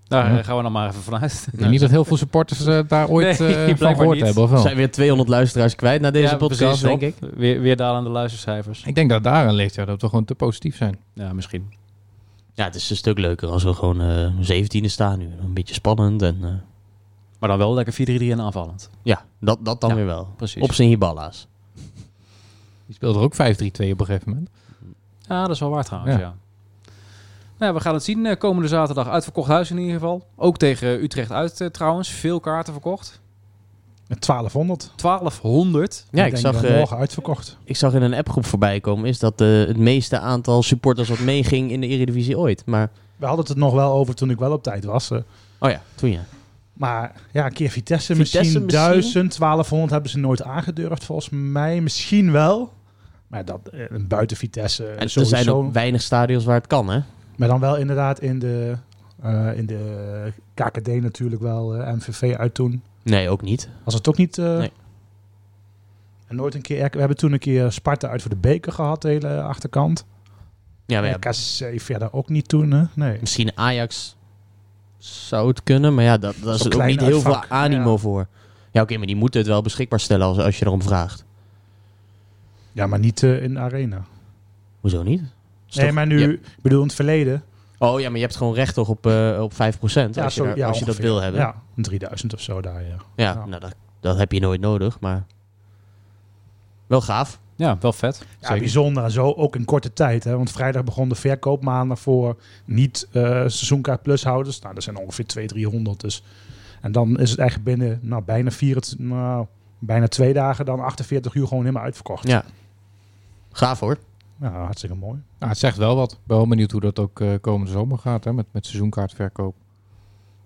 Daar Ja. eh, gaan we dan maar even vanuit. Ik denk niet dat heel veel supporters eh, daar ooit Nou, Nee, eh, van blijkbaar gehoord niet. hebben, of wel? Er zijn weer 200 luisteraars kwijt na deze Ja, podcast, precies, denk Rob. ik. Weer, weer dalende luistercijfers. Ik denk dat daaraan ligt, ja, dat we gewoon te positief zijn. Ja, misschien. Ja, het is een stuk leuker als we gewoon eh 17e staan nu. Een beetje spannend en. eh, Maar dan wel lekker 4-3-3 en aanvallend. ja, dat, dat dan Ja, weer wel. precies. Op zijn hiballa's. Die speelde er ook 5-3-2 op een gegeven moment. Ja, dat is wel waar trouwens, ja. Ja. Nou, ja, we gaan het zien eh, komende zaterdag. Uitverkocht huis in ieder geval. Ook tegen eh, Utrecht uit eh, trouwens. Veel kaarten verkocht. Met 1200. 1200. Ja, ik, denk zag. dat eh, morgen uitverkocht. ik zag in een appgroep voorbij komen, is dat eh, het meeste aantal supporters wat meeging in de Eredivisie ooit. Maar, We hadden het er nog wel over toen ik wel op tijd was. eh. oh ja, toen ja. Maar ja, een keer Vitesse, Vitesse misschien, misschien? 1000, 1200 hebben ze nooit aangedurfd volgens mij. Misschien wel. Maar dat, eh, een buiten Vitesse eh, En er sowieso. zijn ook weinig stadions waar het kan, hè? Maar dan wel inderdaad in de, eh, in de KKD natuurlijk wel eh, MVV uit toen. Nee, ook niet. Was het ook niet... eh, Nee. En nooit een keer... We hebben toen een keer Sparta uit voor de beker gehad, de hele achterkant. Ja, maar Ja, ja, KC verder ook niet toen, hè? Nee. misschien Ajax zou het kunnen, maar ja, dat, daar is Zo'n ook klein niet heel veel uitvak, animo ja. voor. Ja, oké, maar die moeten het wel beschikbaar stellen als, als je erom vraagt. Ja, maar niet eh, in de arena. Hoezo niet? Is nee, toch- maar nu... je- Ik bedoel, in het verleden... oh ja, maar je hebt gewoon recht toch op, eh, op 5% als, je, zo- daar- ja, als je dat ongeveer. wil hebben. Ja, Ja, een 3000 of zo daar, ja. Ja. Nou, dat, dat heb je nooit nodig, maar wel gaaf. Ja, wel vet. Ja, bijzonder. en Zo ook in korte tijd. Hè? Want vrijdag begon de verkoop maandag voor niet eh seizoenkaart plushouders. Nou, dat zijn ongeveer 200, 300. Dus. En dan is het eigenlijk binnen nou, bijna, vier, nou, bijna twee dagen dan 48 uur gewoon helemaal uitverkocht. Ja. Gaaf hoor. Nou, hartstikke mooi. Nou, het zegt wel wat. Ik ben wel benieuwd hoe dat ook eh, komende zomer gaat hè, met, met seizoenkaartverkoop.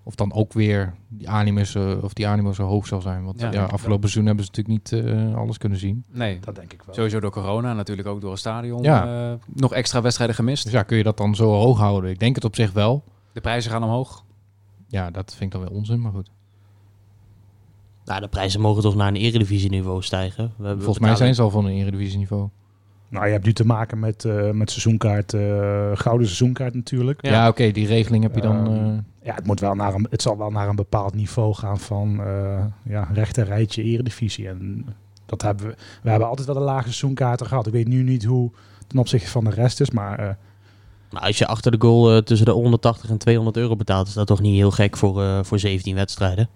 Of dan ook weer die animus, eh, of die animo zo hoog zal zijn. Want Ja, ja, denk ik afgelopen seizoen hebben ze natuurlijk niet eh, alles kunnen zien. Nee, Dat denk ik wel. sowieso door corona natuurlijk ook door het stadion. Ja. eh, nog extra wedstrijden gemist. Dus ja, kun je dat dan zo hoog houden? Ik denk het op zich wel. De prijzen gaan omhoog. Ja, dat vind ik dan weer onzin, maar goed. Nou, de prijzen mogen toch naar een eredivisieniveau stijgen. We hebben Volgens mij zijn ze al van een eredivisieniveau. Nou, je hebt nu te maken met, eh, met seizoenkaart, eh, gouden seizoenkaart natuurlijk. Ja, Ja. oké, die regeling heb je dan... Ehm, eh, Ja, het, moet wel naar een, het zal wel naar een bepaald niveau gaan van eh ja, rechter rijtje eredivisie. En dat hebben we, we hebben altijd wel een lage seizoenkaarten gehad. Ik weet nu niet hoe ten opzichte van de rest is, maar eh, Maar Nou, als je achter de goal eh, tussen de 180 en 200 euro betaalt, is dat toch niet heel gek voor, eh, voor 17 wedstrijden?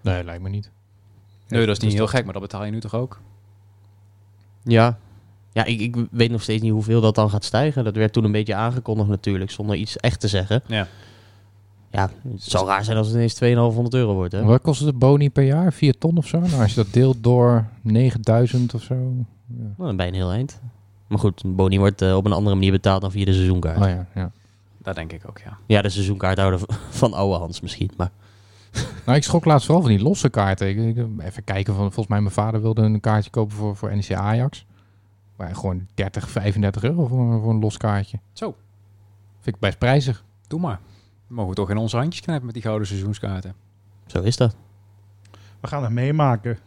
nee, lijkt me niet. Nee, dus dat is niet heel gek, maar dat betaal je nu toch ook? Ja. Ja, ik, ik weet nog steeds niet hoeveel dat dan gaat stijgen. Dat werd toen een beetje aangekondigd natuurlijk, zonder iets echt te zeggen. Ja. Ja, het zou raar zijn als het ineens 2,500 euro wordt, hè? Wat kost het de boni per jaar? 4 ton of zo? Nou, als je dat deelt door 9000 of zo. Ja. Nou, dan ben je een heel eind. Maar goed, een boni wordt eh, op een andere manier betaald dan via de seizoenkaart. Oh ja, ja. Dat denk ik ook, ja. Ja, de seizoenkaarthouder v- van oude Hans misschien. Maar Nou, ik schrok laatst vooral van die losse kaarten. Ik, ik- even kijken, van, volgens mij mijn vader wilde een kaartje kopen voor, voor NEC Ajax. Maar gewoon 30, 35 euro voor, voor een los kaartje. Zo. Vind ik best prijzig. Doe maar. We mogen toch in onze handjes knijpen met die gouden seizoenskaarten. zo is dat. we gaan het meemaken.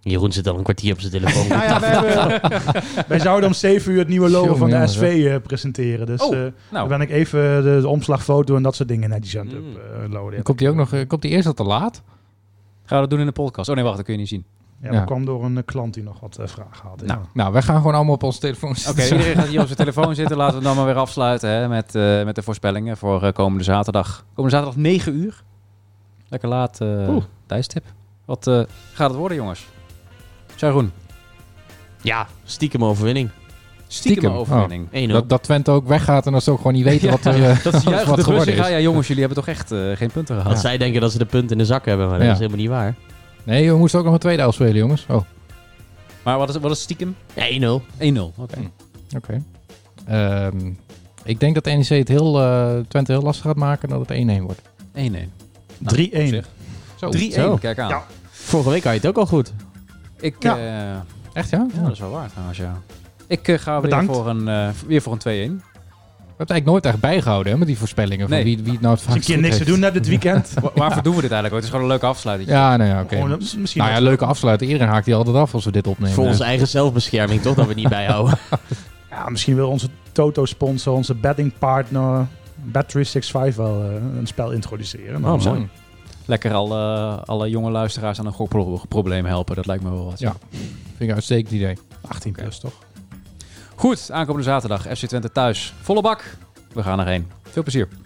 Jeroen zit al een kwartier op zijn telefoon. Nou ja, wij, hebben, wij zouden om 7 uur het nieuwe logo Jongen, van de jongen, SV eh, presenteren. Dus Oh, eh, Nou, dan ben ik even de, de omslagfoto en dat soort dingen naar die zand Mm. uploaden. Komt die ook nog, eh, komt die eerst al te laat? gaan we dat doen in de podcast? Oh nee, wacht, dat kun je niet zien. Ja, Ja. dat kwam door een eh, klant die nog wat eh, vragen had. Nou, ja. Nou, wij gaan gewoon allemaal op onze telefoon Oké, zitten. iedereen gaat hier op zijn telefoon zitten. Laten we dan maar weer afsluiten hè, met, eh, met de voorspellingen voor eh, komende zaterdag. Komende zaterdag 9 uur. Lekker laat eh, Oeh. tijdstip. Wat eh, gaat het worden, jongens? Sharon, Ja, stiekem overwinning. 1-0. stiekem, Oh. Stiekem. overwinning. Dat, dat Twente ook weggaat en dat ze ook gewoon niet weten wat er eh, Dat is juist wat de bus geworden in gaan. is. Ja, jongens, jullie hebben toch echt eh, geen punten Want gehad? zij denken dat ze de punt in de zak hebben, maar dat Ja. is helemaal niet waar. Nee, we moesten ook nog een tweede afspelen, jongens. Oh, oké. Maar wat is, wat is stiekem? 1-0. Ja, 1-0. Oké. Ehm, ik denk dat NEC het heel, eh, Twente heel lastig gaat maken en dat het 1-1 wordt. 1-1. op 3-1. zich. Zo. 3-1, kijk aan. Ja. Oh, Vorige week had je het ook al goed. Ik, Ja. eh, ja. Echt ja? dat is wel waar trouwens, ja. Ik eh, ga weer Bedankt. voor, een, eh, weer voor een 2-1. We hebben het eigenlijk nooit echt bijgehouden hè, met die voorspellingen. Nee. Van wie, wie het nou het Als vaakst een keer goed niks te heeft. doen hebt dit weekend. Wa- Waarvoor doen we dit eigenlijk? ook? Het is gewoon een leuke afsluiting. Ja, nou ja, oké. Gewoon, eh, misschien Nou ja, leuke afsluiten. Iedereen haakt die altijd af als we dit opnemen. Voor onze eigen zelfbescherming, toch? Dat we het niet bijhouden. Ja, misschien wil onze Toto-sponsor, onze bettingpartner Bet365 wel eh, een spel introduceren. Oh, Nou, mooi. Lekker alle, alle jonge luisteraars aan een gokprobleem helpen. Dat lijkt me wel wat. Ja. Vind ik een uitstekend idee. 18 plus toch? Goed, aankomende zaterdag FC Twente thuis. Volle bak. We gaan erheen. Veel plezier.